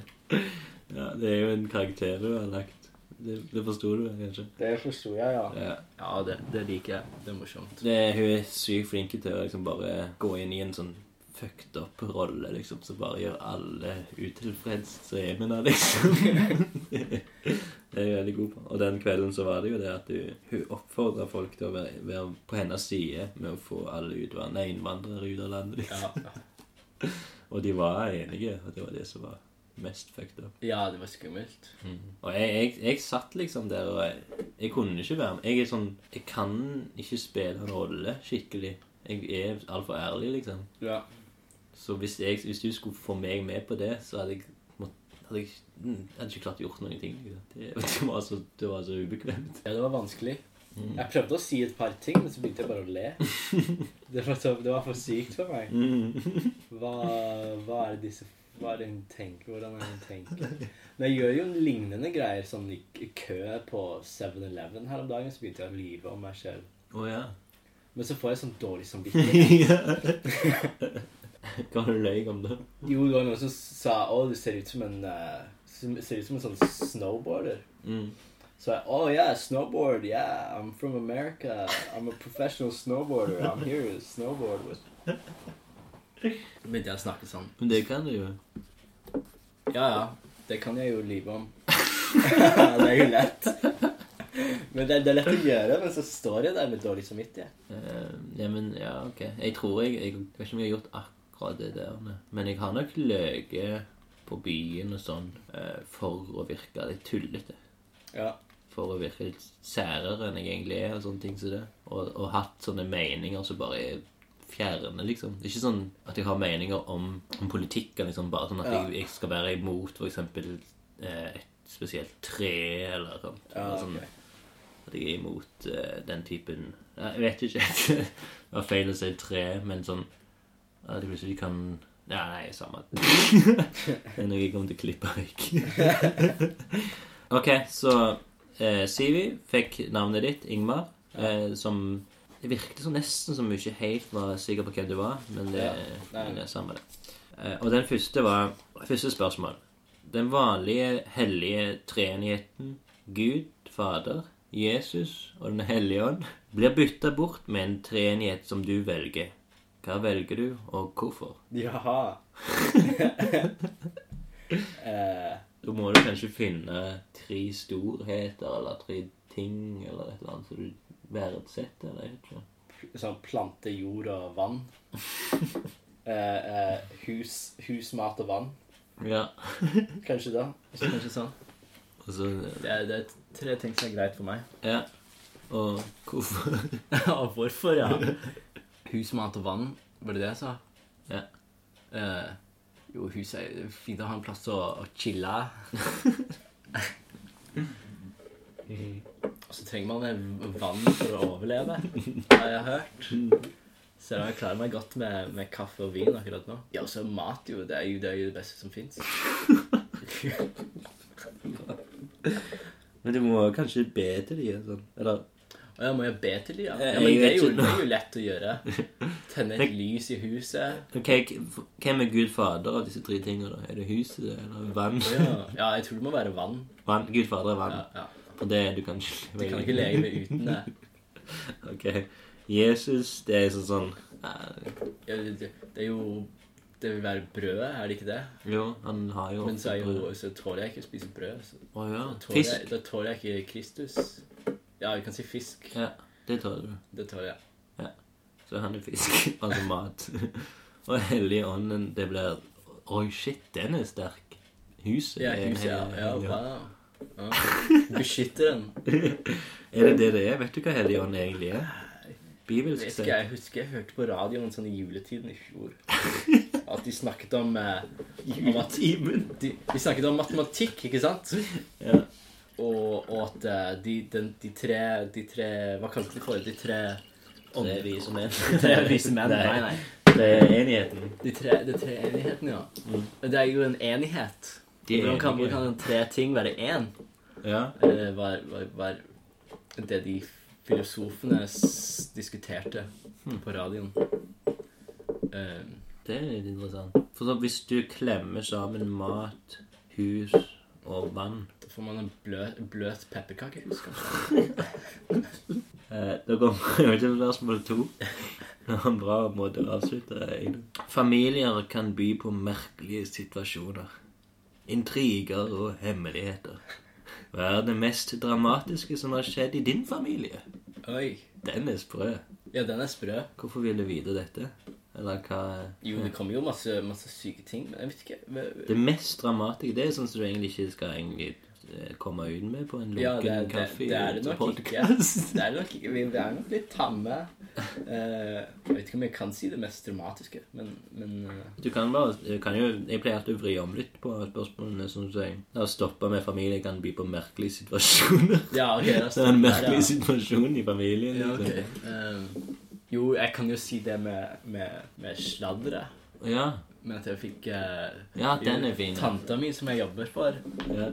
Ja, det er jo en karakter du har lagt. Det, det forsto du kanskje? Det forsto jeg, ja. Ja. Ja, det, det liker jeg. Det er morsomt. Det, hun er sykt flink til å liksom bare gå inn i en sånn fucked up rolle, liksom, som bare gjør alle utilfreds som er med der, liksom. det er hun veldig god på. Og den kvelden så var det jo det at hun, hun oppfordra folk til å være, være på hennes side med å få alle utvand- nei, innvandrere ut av landet. Liksom. Ja, Og de var enige, og det var det som var mest fucked up. ja det var skummelt. Og jeg, jeg, jeg satt liksom der, og jeg, jeg kunne ikke være med. Jeg er sånn, jeg kan ikke spille en rolle skikkelig. Jeg er altfor ærlig, liksom. Ja. Så hvis, jeg, hvis du skulle få meg med på det, så hadde jeg, mått- hadde jeg, mm, hadde ikke klart å gjort noen ting. liksom. Det, *laughs* det, var så, det var så ubekvemt. Mm. det var vanskelig. Jeg prøvde å si et par ting, men så begynte jeg bare å le. Det var, så, det var for sykt for meg. Mm. Hva, hva er det disse Hva er det hun tenker? Hvordan er det hun tenker? Men jeg gjør jo lignende greier, sånn i i kø på 7-Eleven her om dagen, så begynte jeg å lyve om meg selv. Å *laughs* ja. Men så får jeg sånn dårlig samvittighet. Hva har du løy om det? Jo, det var noen som sa å, du ser ut som en eh, som- ser ut som en sånn snowboarder. Mm. Så jeg, oh yeah, snowboard, yeah, I'm from America. I'm a professional snowboarder. I'm here to snowboard with. Begynte jeg å snakke sånn. Men det kan du jo. Ja, ja. Det kan jeg jo lyve om. *laughs* det er jo lett. Men det, det er lett å gjøre, men så står jeg der med dårlig samvittighet. Eh, ja, men ja, ok. Jeg tror jeg, jeg vet ikke om jeg har gjort akkurat det der, nei. men jeg har nok løyet på byen og sånn eh, for å virke litt tullete. Ja. For å virke litt særere enn jeg egentlig er, og sånne ting som det. Og, og hatt sånne meninger som bare er fjerne, liksom. Det er ikke sånn at jeg har meninger om, om politikk, liksom, bare sånn at Ja. jeg, jeg skal være imot for eksempel eh, et spesielt tre eller sånt. Ja, Eller sånn, ok. At jeg er imot eh, den typen Nei, Jeg vet ikke. *laughs* det var feil å si tre, men sånn at jeg plutselig kan Ja, nei, samme. det er noe jeg kommer til å klippe vekk. ok, så eh, Sivi fikk navnet ditt, Ingmar, eh, som Det virket som nesten som hun ikke helt var sikker på hvem du var, men det, Ja, nei. men det er samme det. Eh, og den første var Første spørsmål. Den vanlige hellige treenigheten Gud, Fader, Jesus og Den hellige ånd blir bytta bort med en treenighet som du velger. Hva velger du, og hvorfor? Jaha. eh, Da må du kanskje finne tre storheter eller tre ting eller et eller annet som du verdsetter. eller jeg vet ikke. sånn plante, jord og vann. Eh, eh, hus, hus, mat og vann. Ja, Kanskje da. Kanskje sånn. og så Det er, det er tre ting som er greit for meg. Ja. Og hvorfor? Ja, hvorfor, ja? *laughs* Hus, mat og vann, var det det jeg sa? Ja. Eh, jo, hus er det er fint å ha en plass til å, å *laughs* chille. Og så trenger man en vann for å overleve, har jeg hørt. Selv om jeg klarer meg godt med, med kaffe og vin akkurat nå. Ja, og så mat, jo. Det er jo det, er jo det beste som fins. Men du må kanskje be til dem sånn. Eller Og jeg må jo be til dem, ja. Jeg- ja men jeg det er, jo, vet ikke. det er jo lett å gjøre. Tenne et lys i huset. Ok, k- Hvem er Gud fader av disse tre tingene? da? Er det huset, eller vann? Ja, ja, jeg tror det må være vann. vann? Gud fader er vann. Ja, ja. For det du kan ikke Du kan ikke lege meg uten det. *laughs* Ok. Jesus, det er sånn sånn eh, Ja, det- det det er jo Det vil være brødet, er det ikke det? Jo, han har jo Men så, er brød. jo, så tåler jeg ikke å spise brød. Så Å ja. da tåler jeg, Fisk. da tåler jeg ikke Kristus. Ja, vi kan si fisk. Ja, det tar du. Det tåler jeg. Så han er fisk, *laughs* altså mat. Og hellig ånden, det blir Oi, shit, den er sterk. Huset Ja, er huset, ja. hellig- ja hellig ånd. wow. Ja. Beskytteren. Er det det det er? Vet du hva hellig ånd egentlig er? Bibelsk Vet ikke, sett. jeg husker jeg hørte på radioen sånn i juletiden i fjor at de snakket om, eh, om at Juletimen. de, de snakket om matematikk, ikke sant? Ja. Og, og at eh, de, den, de tre De tre Hva kalte de for det? De tre Det er vi som *laughs* er Tre vise menn? Nei, nei. Det er enigheten. De tre, de tre enighetene, ja. Men Det er jo en enighet. De er Hvordan kan, enige. hvordan kan tre ting være én? Ja. Eh, Var, var, var det de filosofene s diskuterte på radioen. Eh, Det er litt interessant. For så, hvis du klemmer sammen mat, hus og vann da får man en bløt, bløt pepperkake, husker jeg. eh, Da kommer *laughs* jeg til spørsmål to. Det var en bra måte å avslutte egentlig. Familier kan by på merkelige situasjoner. Intriger og hemmeligheter. Hva er det mest dramatiske som har skjedd i din familie? Oi. Den er sprø. Ja, den er sprø. Hvorfor vil du vite dette? Eller hva Jo, det kommer jo masse, masse syke ting, men jeg vet ikke hva- Det mest dramatiske Det er sånn som du egentlig ikke skal egentlig eh, komme ut med på en lunken Ja, det er- det- kaffe. det er det nok podcast. Det er nok, ikke- vi vi er nok litt tamme. Eh, jeg vet ikke om jeg kan si det mest dramatiske, men, men eh, Du kan bare du kan jo, Jeg pleier alltid å vri om litt på spørsmålene. Som du sier. La oss stoppe med familie kan by på merkelige situasjoner. Ja, ok, da *laughs* Det er en stopper jeg der, merkelig ja. situasjon i familien. Ja, liksom. ok. Ehm, jo, jeg kan jo si det med, med, med sladderet. ja. Men at jeg fikk eh, ja, den er fin. Tanta mi, som jeg jobber for, Ja.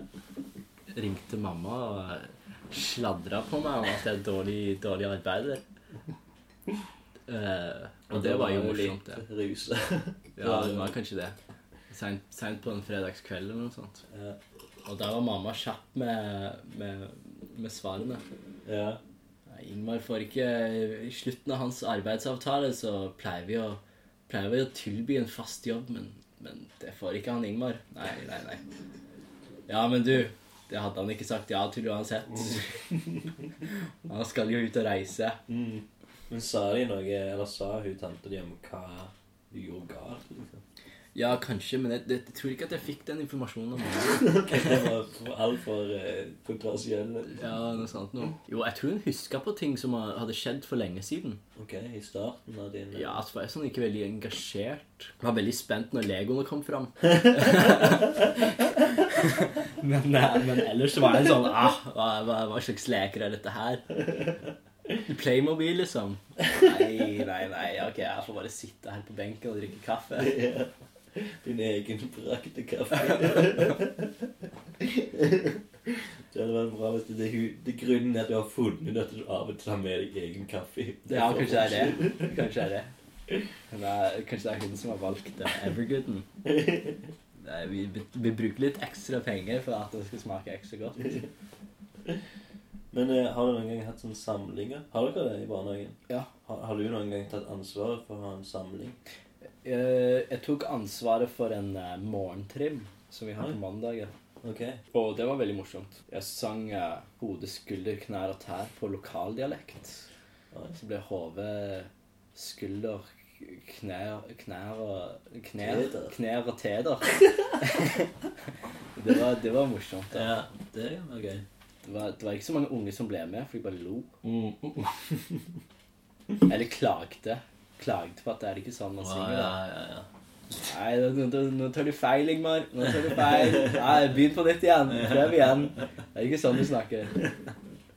ringte mamma og sladra på meg om at jeg er dårlig, dårlig arbeider. Eh, og det var jo morsomt, det. litt Ruse. Ja, det var kanskje det. Seint seint på en fredagskveld eller noe sånt. Ja. Og der var mamma kjapp med, med, med svarene. Ja. Nei, Ingmar får ikke I slutten av hans arbeidsavtale så pleier vi å, pleier vi å tilby en fast jobb, men, men det får ikke han Ingmar. Nei, nei, nei. Ja, men du, det hadde han ikke sagt ja til uansett. *laughs* Han skal jo ut og reise. Men sa de noe, eller sa hun tante di om hva du gjorde galt? liksom? *laughs* Ja, kanskje, men jeg, jeg tror ikke at jeg fikk den informasjonen. om han. Det var altfor eh, kontroversielt. Ja, noe sånt noe. Jo, jeg tror hun huska på ting som hadde skjedd for lenge siden. Ok, i starten av din Ja, så var jeg sånn ikke veldig engasjert. Var veldig spent når legoene kom fram. Men, eh, men ellers så var det en sånn ah, hva, hva, hva slags leker er dette her? Playmobil, liksom. Nei, nei, nei. Ok, jeg får bare sitte her på benken og drikke kaffe. Ja. Din egen brakte *laughs* kaffe. Det hadde vært bra hvis det, det, hu- det grunnen er at du har funnet at du av og til har med deg egen kaffe. Ja, kanskje det er det. Kanskje det er det. Men det er, kanskje det er hun som har valgt eh, Evergooden. Nei, vi, vi bruker litt ekstra penger for at det skal smake ekstra godt. Men eh, har du noen gang hatt sånne samlinger? Har dere det i barnehagen? Ja. Har, har du noen gang tatt ansvaret for å ha en samling? Eh, Jeg tok ansvaret for en eh, morgentrim som vi har på mandager. Ok. Og det var veldig morsomt. Jeg sang eh, hode, skulder, knær og tær på lokaldialekt. Oi. Så ble hode, skulder, knær, knær og knær, Teder. knær og *laughs* teder. det, var, det var morsomt. Da. Ja, det kan være gøy. Det, var, det var ikke så mange unge som ble med, for de bare lo. Mm. *laughs* Eller klagde. Klagde på at det er ikke sånn man Ja, synger. ja, da. ja, ja. Nei, nå, nå, nå- nå tar du feil, Ingmar. Nå tar du feil. Nei, Begynn på nytt igjen. Prøv igjen. Det er ikke sånn du snakker.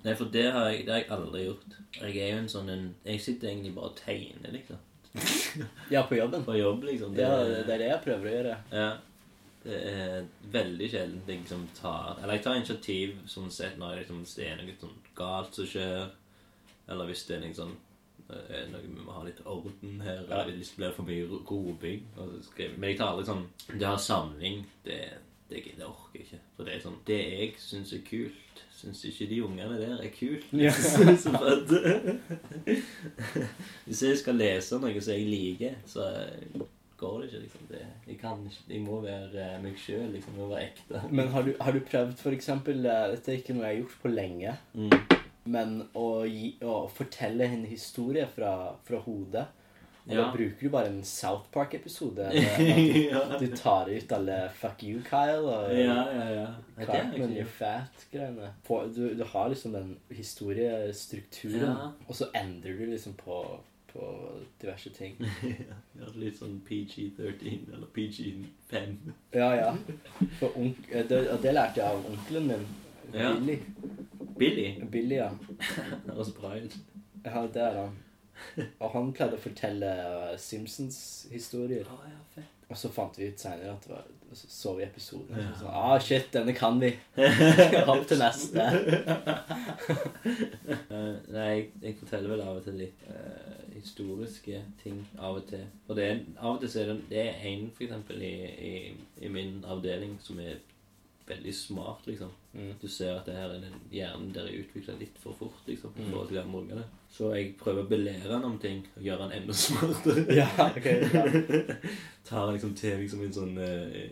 Nei, for det har jeg, det har jeg aldri gjort. Jeg er jo en sånn en Jeg sitter egentlig bare og tegner, liksom. Ja, på jobben. På jobb, liksom. Ja, det er det jeg prøver å gjøre. Ja. Det er veldig sjelden jeg liksom tar Eller jeg tar initiativ sånn sett når jeg liksom, hvis det er noe sånn galt som skjer, eller hvis det er noe sånn eh, noe Vi må ha litt orden her, eller hvis det blir for mye ro- roping. og så skriver jeg- Men jeg tar aldri sånn Det har samling. Det, det, det orker jeg ikke. For det er sånn Det jeg syns er kult, syns ikke de ungene der er kult. *laughs* Ja. Så bare- hvis jeg skal lese noe som jeg liker, så går det ikke, liksom. Det, jeg, kan, ikke- jeg må være eh, meg sjøl, liksom. Jeg må være ekte. *laughs* Men har du, har du prøvd for eksempel, eh, dette er ikke noe jeg har gjort på lenge, Mm. men å, gi, å fortelle en historie fra, fra hodet, og da Ja. bruker du bare en South *laughs* Park-episode. eller ja. at Du tar ut alle 'fuck you, Kyle' og ja, ja, ja. Nei, det er Cartman, ikke- you're fat-greiene. På- Du, du har liksom den historiestrukturen, Ja. og så endrer du liksom på, på diverse ting. Ja, *laughs* Litt sånn PG-13 eller PG-5. Ja, ja. For onk, eh, det, og det lærte jeg av onkelen min. Ja. Billy. Billy. Billy, ja. Det høres bra ut. Ja, det er han. Og han pleide å fortelle eh, Simpsons-historier. Å, ja, fett. Og så fant vi ut senere at det var Så så vi episoden. og Ja. Så, sånn, ah, shit, denne kan vi. Opp til neste. Eh, nei, jeg, jeg forteller vel av og til litt eh, historiske ting av og til. For det er, av og til så er det, det er en for eksempel i, i, i min avdeling som er veldig smart, liksom. Mm. Du ser at det her er den hjernen der er utvikla litt for fort, liksom. i Mm. forhold til de andre ungene. Så jeg prøver å belære han om ting og gjøre han enda *laughs* smartere. Ja, *laughs* ok. Ja. Tar liksom til liksom en sånn eh,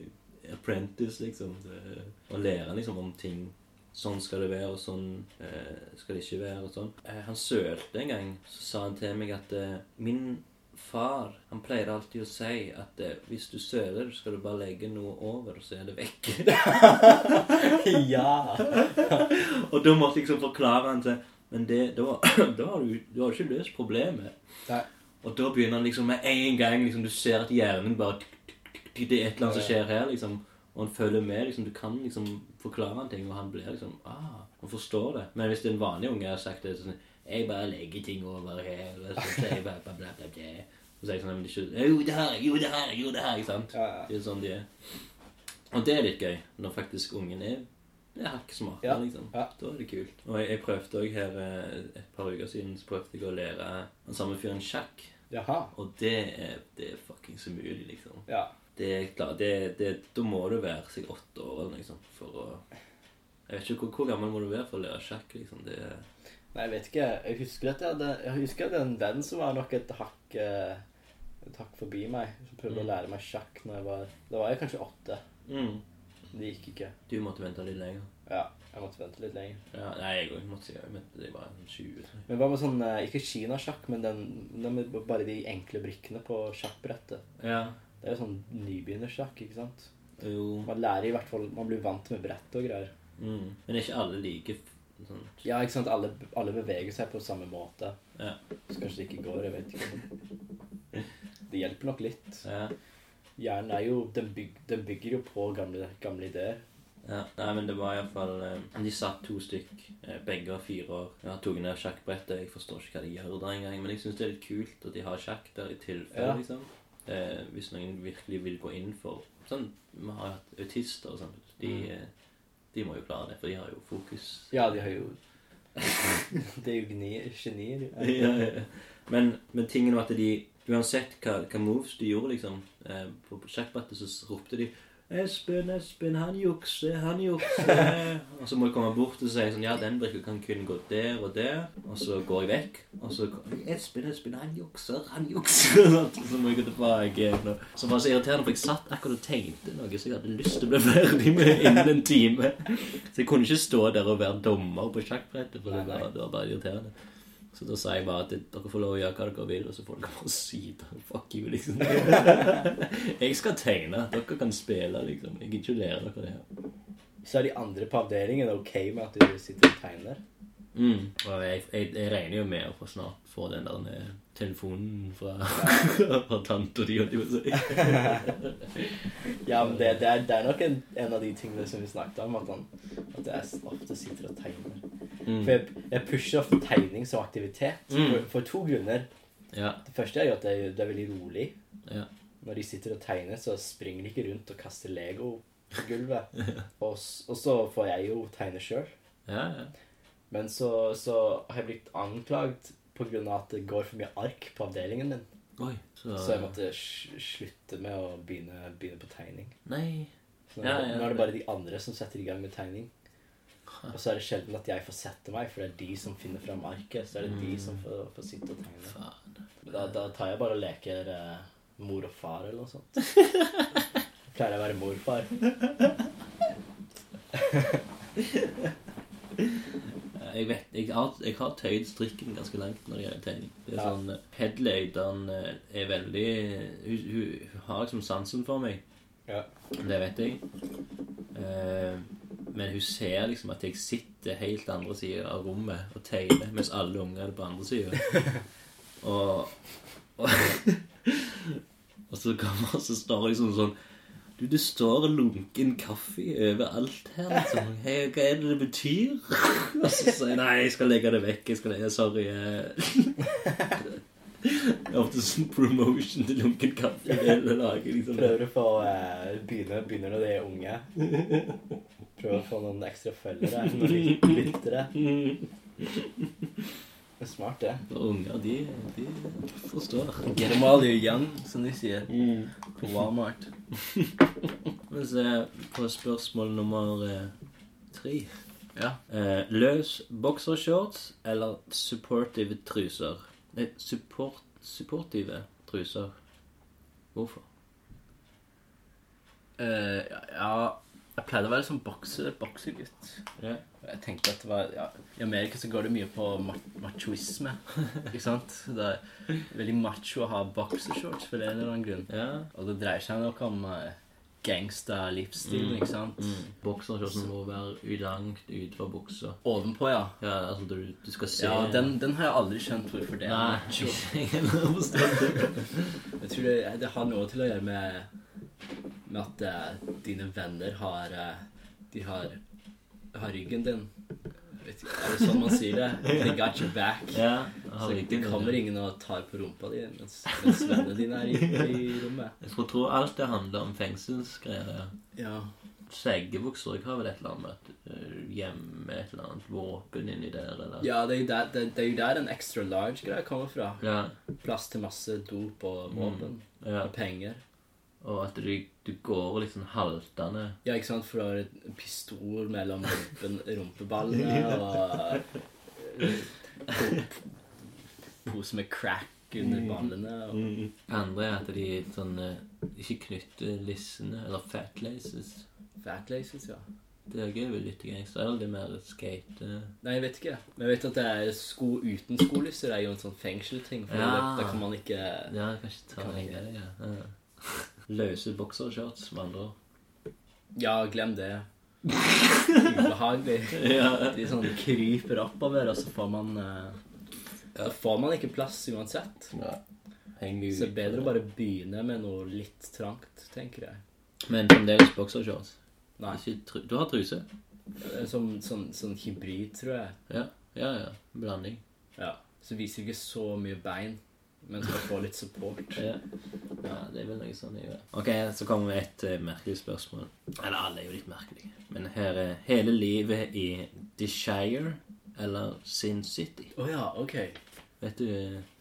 apprentice, liksom. eh, Og lærer han liksom om ting. Sånn skal det være, og sånn eh, skal det ikke være, og sånn. Eh, han sølte en gang, så sa han til meg at eh, min far, han pleier alltid å si at eh, hvis du søler, skal du bare legge noe over, og så er det vekk. *laughs* ja. *laughs* og da måtte jeg liksom forklare han til Men *clears throat* det, da, da har du, du har ikke løst problemet. Nei. Og da begynner han liksom med en gang liksom, Du ser at hjernen bare tuk, tuk, tuk, tuk, Det er et eller annet som skjer her, liksom. Og han følger med. liksom, Du kan liksom forklare han ting, og han blir liksom ah, Han forstår det. Men hvis det er en vanlig unge har sagt det sånn Jeg bare legger ting over her. Og så sier jeg bare bla, bla, bla, bla. Og så er jeg sånn «Nei, men det er ikke, Jo, det her, jo, det her, jo, det her. Ikke sant? Ja, ja. Det er sånn de er. Og det er litt gøy, når faktisk ungen er det er hakket smartere, Ja, liksom. ja. Da er det kult. Og jeg, jeg prøvde òg her eh, et par uker siden så prøvde jeg å lære den samme fyren sjakk. Jaha. Og det er, det er fuckings umulig, liksom. Ja. Det er klart, det, det, Da må du være seg åtte år eller noe sånt for å Jeg vet ikke hvor, hvor gammel må du være for å lære sjakk, liksom. Det er Nei, jeg vet ikke. Jeg husker at jeg hadde, jeg husker at jeg hadde en venn som var nok et hakk eh, et hakk forbi meg. Som prøvde å lære meg sjakk når jeg var Da var jeg kanskje åtte. mm, Det gikk ikke. Du måtte vente litt lenger. Ja, jeg måtte vente litt lenger. Ja, nei, jeg òg måtte jeg vente til jeg var 20. tror jeg. Men hva med sånn eh, Ikke kinasjakk, men den, den med bare de enkle brikkene på sjakkbrettet. Ja. Det er jo sånn nybegynnersjakk, ikke sant? Jo. Man lærer i hvert fall Man blir vant med brett og greier. Mm. Men er ikke alle like f- sånn Ja, ikke sant? Alle, alle beveger seg på samme måte. Ja. Så kanskje det ikke går. Jeg vet ikke. Det hjelper nok litt. ja. Hjernen er jo Den, byg, den bygger jo på gamle, gamle ideer. Ja, nei, men det var iallfall De satt to stykk, eh, begge var fire år. Jeg tok ned sjakkbrettet. Jeg forstår ikke hva de gjør der engang, men jeg syns det er litt kult at de har sjakk der i tilfelle, Ja. liksom. Eh, hvis noen virkelig vil gå inn for Sånn, vi har jo hatt autister og sånn. De, eh, de må jo klare det, for de har jo fokus. Ja, de har *laughs* jo Det er jo gni- genier. Ja, *laughs* ja, ja. Men, men tingen var at de Uansett hva, hva moves de gjorde, liksom eh, På på sjakkbrettet så ropte de 'Espen, Espen, han jukser, han jukser'. *laughs* og så må jeg komme bort og si sånn 'Ja, den brikka kan kun gå der og der'. Og så går jeg vekk, og så kom- 'Espen, Espen, han jukser, han jukser'. *laughs* sant? så må jeg gå tilbake. igjen, og- Så var det så irriterende, for jeg satt akkurat og tegnte noe så jeg hadde lyst til å bli ferdig med innen en time. Så jeg kunne ikke stå der og være dommer på sjakkbrettet, for det var, det var bare irriterende. Så da sa jeg bare at dere får lov å gjøre hva dere vil, og så får dere bare si det. Fuck you, liksom. jeg skal tegne. Dere kan spille, liksom. Jeg gidder ikke å lære dere det her. Så er de andre på avdelingen ok med at du sitter og tegner. Mm. Og jeg, jeg, jeg regner jo med å få snart få den der eh, telefonen fra, *laughs* fra tante di, holdt jeg på å si. Ja, men det, det, er, det er nok en, en av de tingene som vi snakket om, at, han, at jeg s- ofte sitter og tegner. For jeg, jeg pusher ofte tegning som aktivitet Mm. for, for to grunner. Ja. Det første er jo at det, er- det er veldig rolig. Ja. Når de sitter og tegner, så springer de ikke rundt og kaster Lego på *laughs* gulvet. Og, s- og så får jeg jo tegne sjøl. Ja, ja. Men så, så har jeg blitt anklagd pga. at det går for mye ark på avdelingen min. Oi, så, Så jeg måtte sl- slutte med å begynne, begynne på tegning. Nei. Så nå, Ja, ja, nå er det- det bare de andre som setter i gang med tegning. Og så er det sjelden at jeg får sette meg, for det er de som finner fram arket. Så er det Mm. de som får, får sitte og tegne. Faen. Da, da tar jeg bare og leker eh, mor og far eller noe *laughs* sånt. Jeg pleier å være morfar. Eh, Jeg vet, jeg har, jeg har tøyd strikken ganske langt når det gjelder tegning. Det er Ja. sånn, Headløyderen er veldig hun, hun, hun har liksom sansen for meg. Ja. Det vet jeg. Eh, men hun ser liksom at jeg sitter helt andre siden av rommet og tegner, mens alle unger er på andre siden. Og, og, *laughs* og så kommer så står jeg sånn sånn Du, det står lunken kaffe overalt her, liksom. Hei, hva er det det betyr? *laughs* Og så sier jeg nei, jeg skal legge det vekk. Jeg skal legge, Sorry. Jeg *laughs* har ofte sånn promotion til lunken kaffe i hele laget. Liksom. Prøver å få eh, begynne, begynner når de er unge. Prøver å få noen ekstra følgere når de lytter det. Det er smart, det. Og unger, de, de forstår. Get them while they're young, som de sier på *laughs* Walmart. Men se på spørsmål nummer eh, tre. Ja. Eh, løs boksershorts eller supportive truser? Nei, support, supportive truser. Hvorfor? Eh, ja, ja, jeg pleide å være sånn bokser, boksergutt. Ja. Jeg tenkte at det var, ja, I Amerika så går det mye på ma- machoisme. ikke sant? Det er veldig macho å ha boksershorts for en eller annen grunn. Ja. Og det dreier seg nok om eh, gangsta-livsstil, ikke sant? Mm. Boksershortsen må være langt utenfor buksa. Ovenpå, ja. Ja, altså du, du skal se Ja, den, den har jeg aldri skjønt hvorfor det er Nei, macho. jeg har forstått det. *laughs* Jeg tror det, det har noe til å gjøre med, med at eh, dine venner har eh, De har, har ryggen din. Jeg Vet ikke, er det sånn man sier det? They got your back. *laughs* Ja, jeg Så har det ikke- kommer ingen og tar på rumpa di mens, mens vennene dine er i, i rommet. Jeg tror, tror alt det handler om fengselsgreier. Ja. Seggebukser Jeg har vel et eller annet eh, hjemme, et eller annet våpen inni der, eller ja, det er jo der, det, det er jo der en extra large-greie kommer fra. ja. Plass til masse dop og våpen. ja. Og penger. Og at du, du går liksom haltende. Ja, ikke sant? For du har en pistol mellom rumpen, rumpeballene og eh, Pose med crack under ballene. Og... Andre er at de sånn eh, ikke knytter lissene, eller fatlaces. Fatlaces, ja. Det er gøy vel litt gangster. Eller det er mer skate eh, Nei, jeg vet ikke. Men jeg vet at det er sko uten skolisser er jo en sånn fengselting. For Ja. da- da kan man ikke Ja, kanskje ta Kan en ikke. greie. Ja. Løse boksershorts, med andre ord. Ja, glem det. Ubehagelig. Ja. De sånn kryper oppover, og så får man eh, Da får man ikke plass uansett. Henge ut. Så det er bedre å bare begynne med noe litt trangt, tenker jeg. Men fremdeles boksershorts. Nei. Ikke tru du har truse? Eh, Som, sånn, sånn hybrid, tror jeg. Ja, ja. ja. Blanding. Ja. Så viser ikke så mye bein, men skal få litt support. Ja. ja, det er vel noe sånn jeg gjør. Ok, så kommer vi et eh, merkelig spørsmål. Eller alle er jo litt merkelige. Men her er hele livet i The Shire eller Sin City. Å ja, ok. Vet du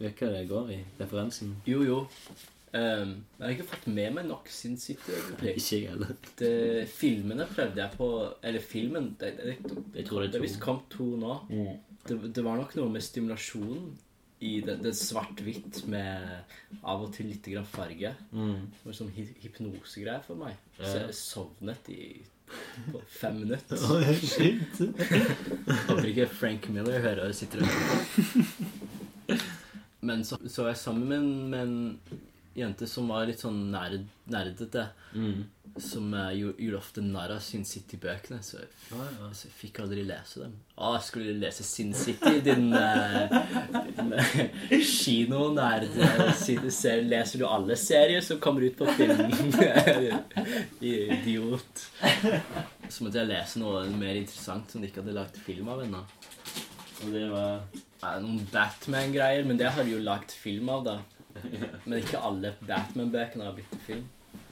vet hva det går i? Referansen? Jo, jo. Ehm, jeg har ikke fått med meg nok sin City, egentlig. Ikke jeg heller. Det, filmene prøvde jeg på Eller filmen Det, det, det, Jeg tror det det er er visst to. Kamp 2 nå. Mm. Det, det var nok noe med stimulasjonen i det, det svart-hvitt med av og til litt grann farge. Mm. Det var sånn hy- hypnosegreier for meg. Ja. Så jeg sovnet i på fem minutter. *laughs* Oi, shit. Håper ikke Frank Miller hører og sitter og *laughs* Men så, så var jeg sammen med en, med en jente som var litt sånn nerd, nerdete. Mm. Som eh, gjo- gjorde ofte narr av Sin City-bøkene. Så jeg f- Ja, ja. altså, jeg fikk aldri lese dem. Å, jeg skulle lese Sin City, din, eh, din eh, kinonerd. eh, siden ser- Leser du alle serier som kommer ut på filmen? *laughs* Idiot. Så måtte jeg lese noe mer interessant som de ikke hadde lagt film av ennå. Og det var Nei, Noen Batman-greier, men det har de jo lagt film av, da. Men ikke alle Batman-bøkene har blitt til film.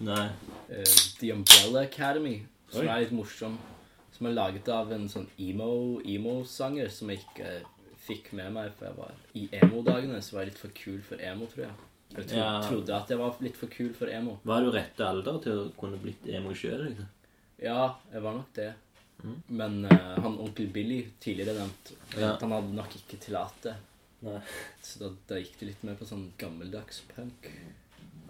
Nei. Eh, The Umbrella Academy, som Oi. er litt morsom. Som er laget av en sånn emo- emo-sanger som jeg ikke eh, fikk med meg. For jeg var i emo-dagene så var jeg litt for kul for emo, tror jeg. Jeg tro, Ja. trodde at jeg var litt for kul for emo. Var du rette alder til å kunne blitt emo sjøl? Liksom? Ja, jeg var nok det. Men eh, han onkel Billy, tidligere nevnt, Ja. han hadde nok ikke tillatt det. Nei. Så da, da gikk det litt mer på sånn gammeldags punk.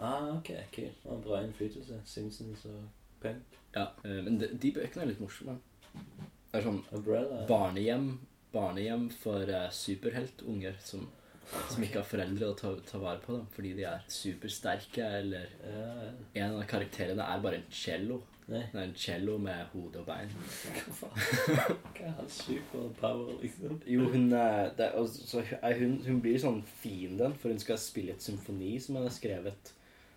Ah, ok, kult. Det var en Bra innflytelse. Simpsons og Punk. Ja, eh, men de, de bøkene er litt morsomme. Det er sånn Umbrella. barnehjem, barnehjem for eh, superheltunger som, som ikke har foreldre å ta, ta vare på dem fordi de er supersterke, eller Ja, ja. En av karakterene er bare en cello. Nei. Det er en cello med hode og bein. Hva er hans superpower, liksom? Jo, hun, er- det, er- og så er hun, hun blir sånn fienden, for hun skal spille et symfoni som hun har skrevet,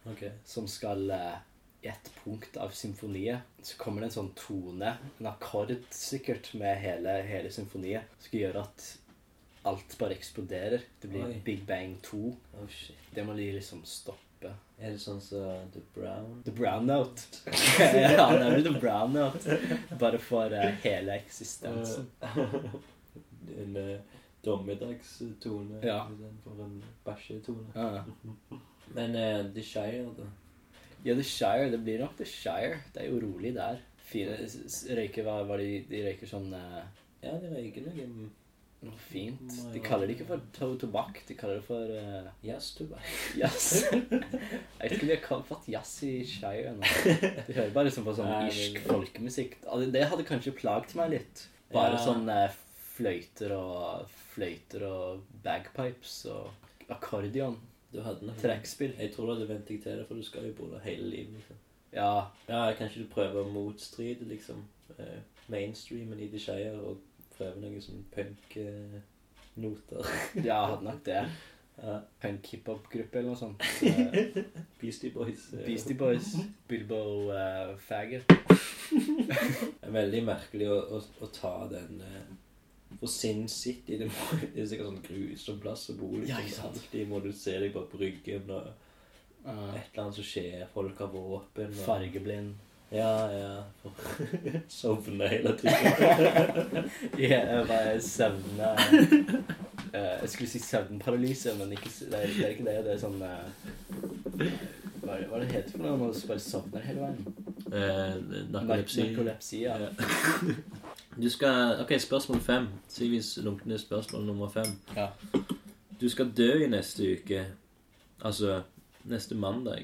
Ok. som skal eh, i et punkt av symfoniet, så kommer det en sånn tone, en akkord sikkert, med hele, hele symfoniet, som skal gjøre at alt bare eksploderer. Det blir Oi. Big Bang 2. Oh, shit. Det må de liksom stoppe. Er det sånn som The Brown? *laughs* The Brownout. ja, det er vel The Brownout. Bare for eh, hele eksistensen. En eh, dommedagstone Ja. istedenfor en bæsjetone. Ja, ja. *laughs* Men eh, The Shire, da? Ja, The Shire. Det blir nok The Shire. Det er jo rolig der. Fire, s- s- røyker hva, hva de, de røyker sånn eh, Ja, det røyker noe noe fint. De kaller det ikke for to- tobakk. De kaller det for eh, jazztobakk. *laughs* jazz. Jeg vet ikke om de har kalt fått jazz i Shire *laughs* ennå. De hører bare liksom på sånn Nei, det- irsk folkemusikk. Altså, Det hadde kanskje plaget meg litt. Bare Ja. sånn eh, fløyter og fløyter og bagpipes og akkordion. Du hadde nok Trekkspill. Jeg tror du hadde vent deg til det, for du skal jo bo der hele livet. liksom. Ja. Ja, kanskje du prøver å motstride liksom eh, mainstreamen i The Shire og prøve noe sånn punk-noter. *laughs* Ja, jeg hadde nok det. ja, Punk hiphop-gruppe eller noe *laughs* sånt. Eh, Beastie Boys. eh, Beastie Boys, Bilbo eh, Faggot. Det er veldig merkelig å, å, å ta den eh, For Sin City det, må, *laughs* det er sikkert sånn grusom plass å bo. Liksom. Ja, ikke sant? Alltid må du se deg på bryggen, og Eh, et eller annet som skjer. Folk har våpen. Og, fargeblind. ja, *laughs* ja. Sovne hele tiden. Ja, jeg *laughs* bare søvne eh, Jeg skulle si søvnparalyse, men ikke, s- det, er, det er ikke det. Det er sånn eh, hva, er det- hva er det heter for noe når du bare sovner hele veien? Eh, Narkolepsi, ja. *laughs* Du skal Ok, spørsmål fem. Sivis lunkne spørsmål nummer fem. Ja. Du skal dø i neste uke. Altså neste mandag.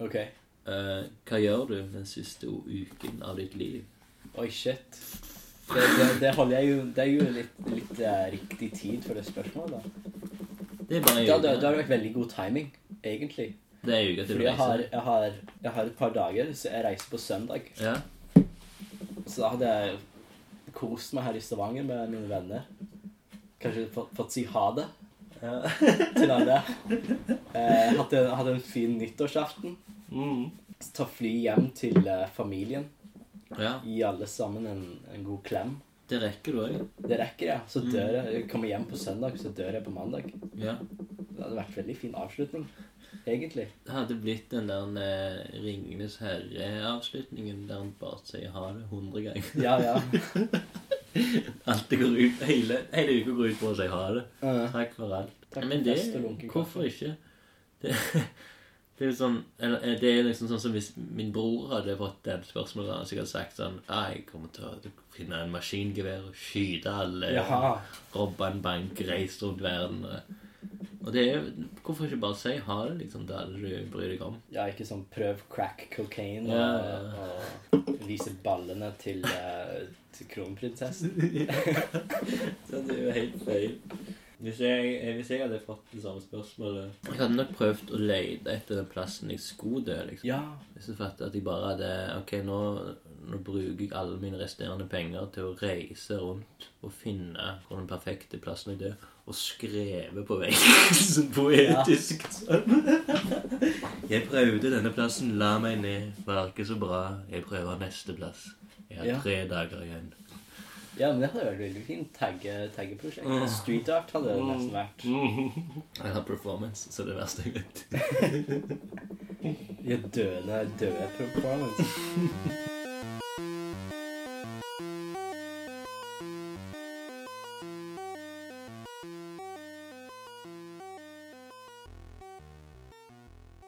Ok. Eh, hva gjør du den siste uken av ditt liv? Oi, shit. Det, det, det holder jeg jo Det er jo litt, litt eh, riktig tid for det spørsmålet, da. Det er bare Da, da, da har det vært veldig god timing, egentlig. Det er en uke til Fordi du jeg har, reiser. jeg, har, jeg har et par dager, så jeg reiser på søndag. Ja. Så da hadde jeg kost meg her i Stavanger med mine venner. Kanskje fått, fått si ha det *laughs* til alle. Eh, hadde, hadde en fin nyttårsaften. Mm. Så Ta fly hjem til eh, familien. Ja, Gi alle sammen en, en god klem. det rekker du òg. Det rekker jeg. Mm. Så dør jeg. jeg kommer hjem på søndag, så dør jeg på mandag. Ja. Det hadde vært veldig fin avslutning, egentlig. Det hadde blitt den der eh, Ringenes herre-avslutningen der han bare sier ha det 100 ganger. *laughs* Ja, ja. Alt det går ut, Hele, hele uka går ut på å si ha det. Eh, Takk for alt. Takk for Men det fest og lunken kaffe. Hvorfor ikke? Det, *laughs* det er jo sånn eller, eh, Det er liksom sånn som hvis min bror hadde fått den spørsmålet, hadde han sikkert sagt sånn «Ah, Jeg kommer til å finne en maskingevær og skyte alle. ja. Robbe en bank, reise rundt verden. Og det er jo Hvorfor ikke bare si ha det, liksom, til alle du bryr deg om? Ja, ikke sånn prøv crack cocaine og, Ja, og vise ballene til, eh, til kronprinsessen. Så det er jo helt feil. Hvis jeg, eh, hvis jeg hadde fått det samme spørsmålet Jeg hadde nok prøvd å lete etter den plassen jeg skulle dø. liksom. Ja. Hvis jeg fattet at jeg bare hadde Ok, nå, nå bruker jeg alle mine resterende penger til å reise rundt og finne hvor den perfekte plassen jeg dør, og skreve på veggen sånn *laughs* poetisk. sånn. Jeg prøvde denne plassen, la meg ned, var ikke så bra. Jeg prøver neste plass. Jeg Ja. har tre dager igjen. ja, men det hadde vært veldig fint. Tagge- Taggeprosjekt. Street art hadde det Mm. nesten vært. Jeg har performance, så det er det verste jeg vet. Ja, døende, døde performance.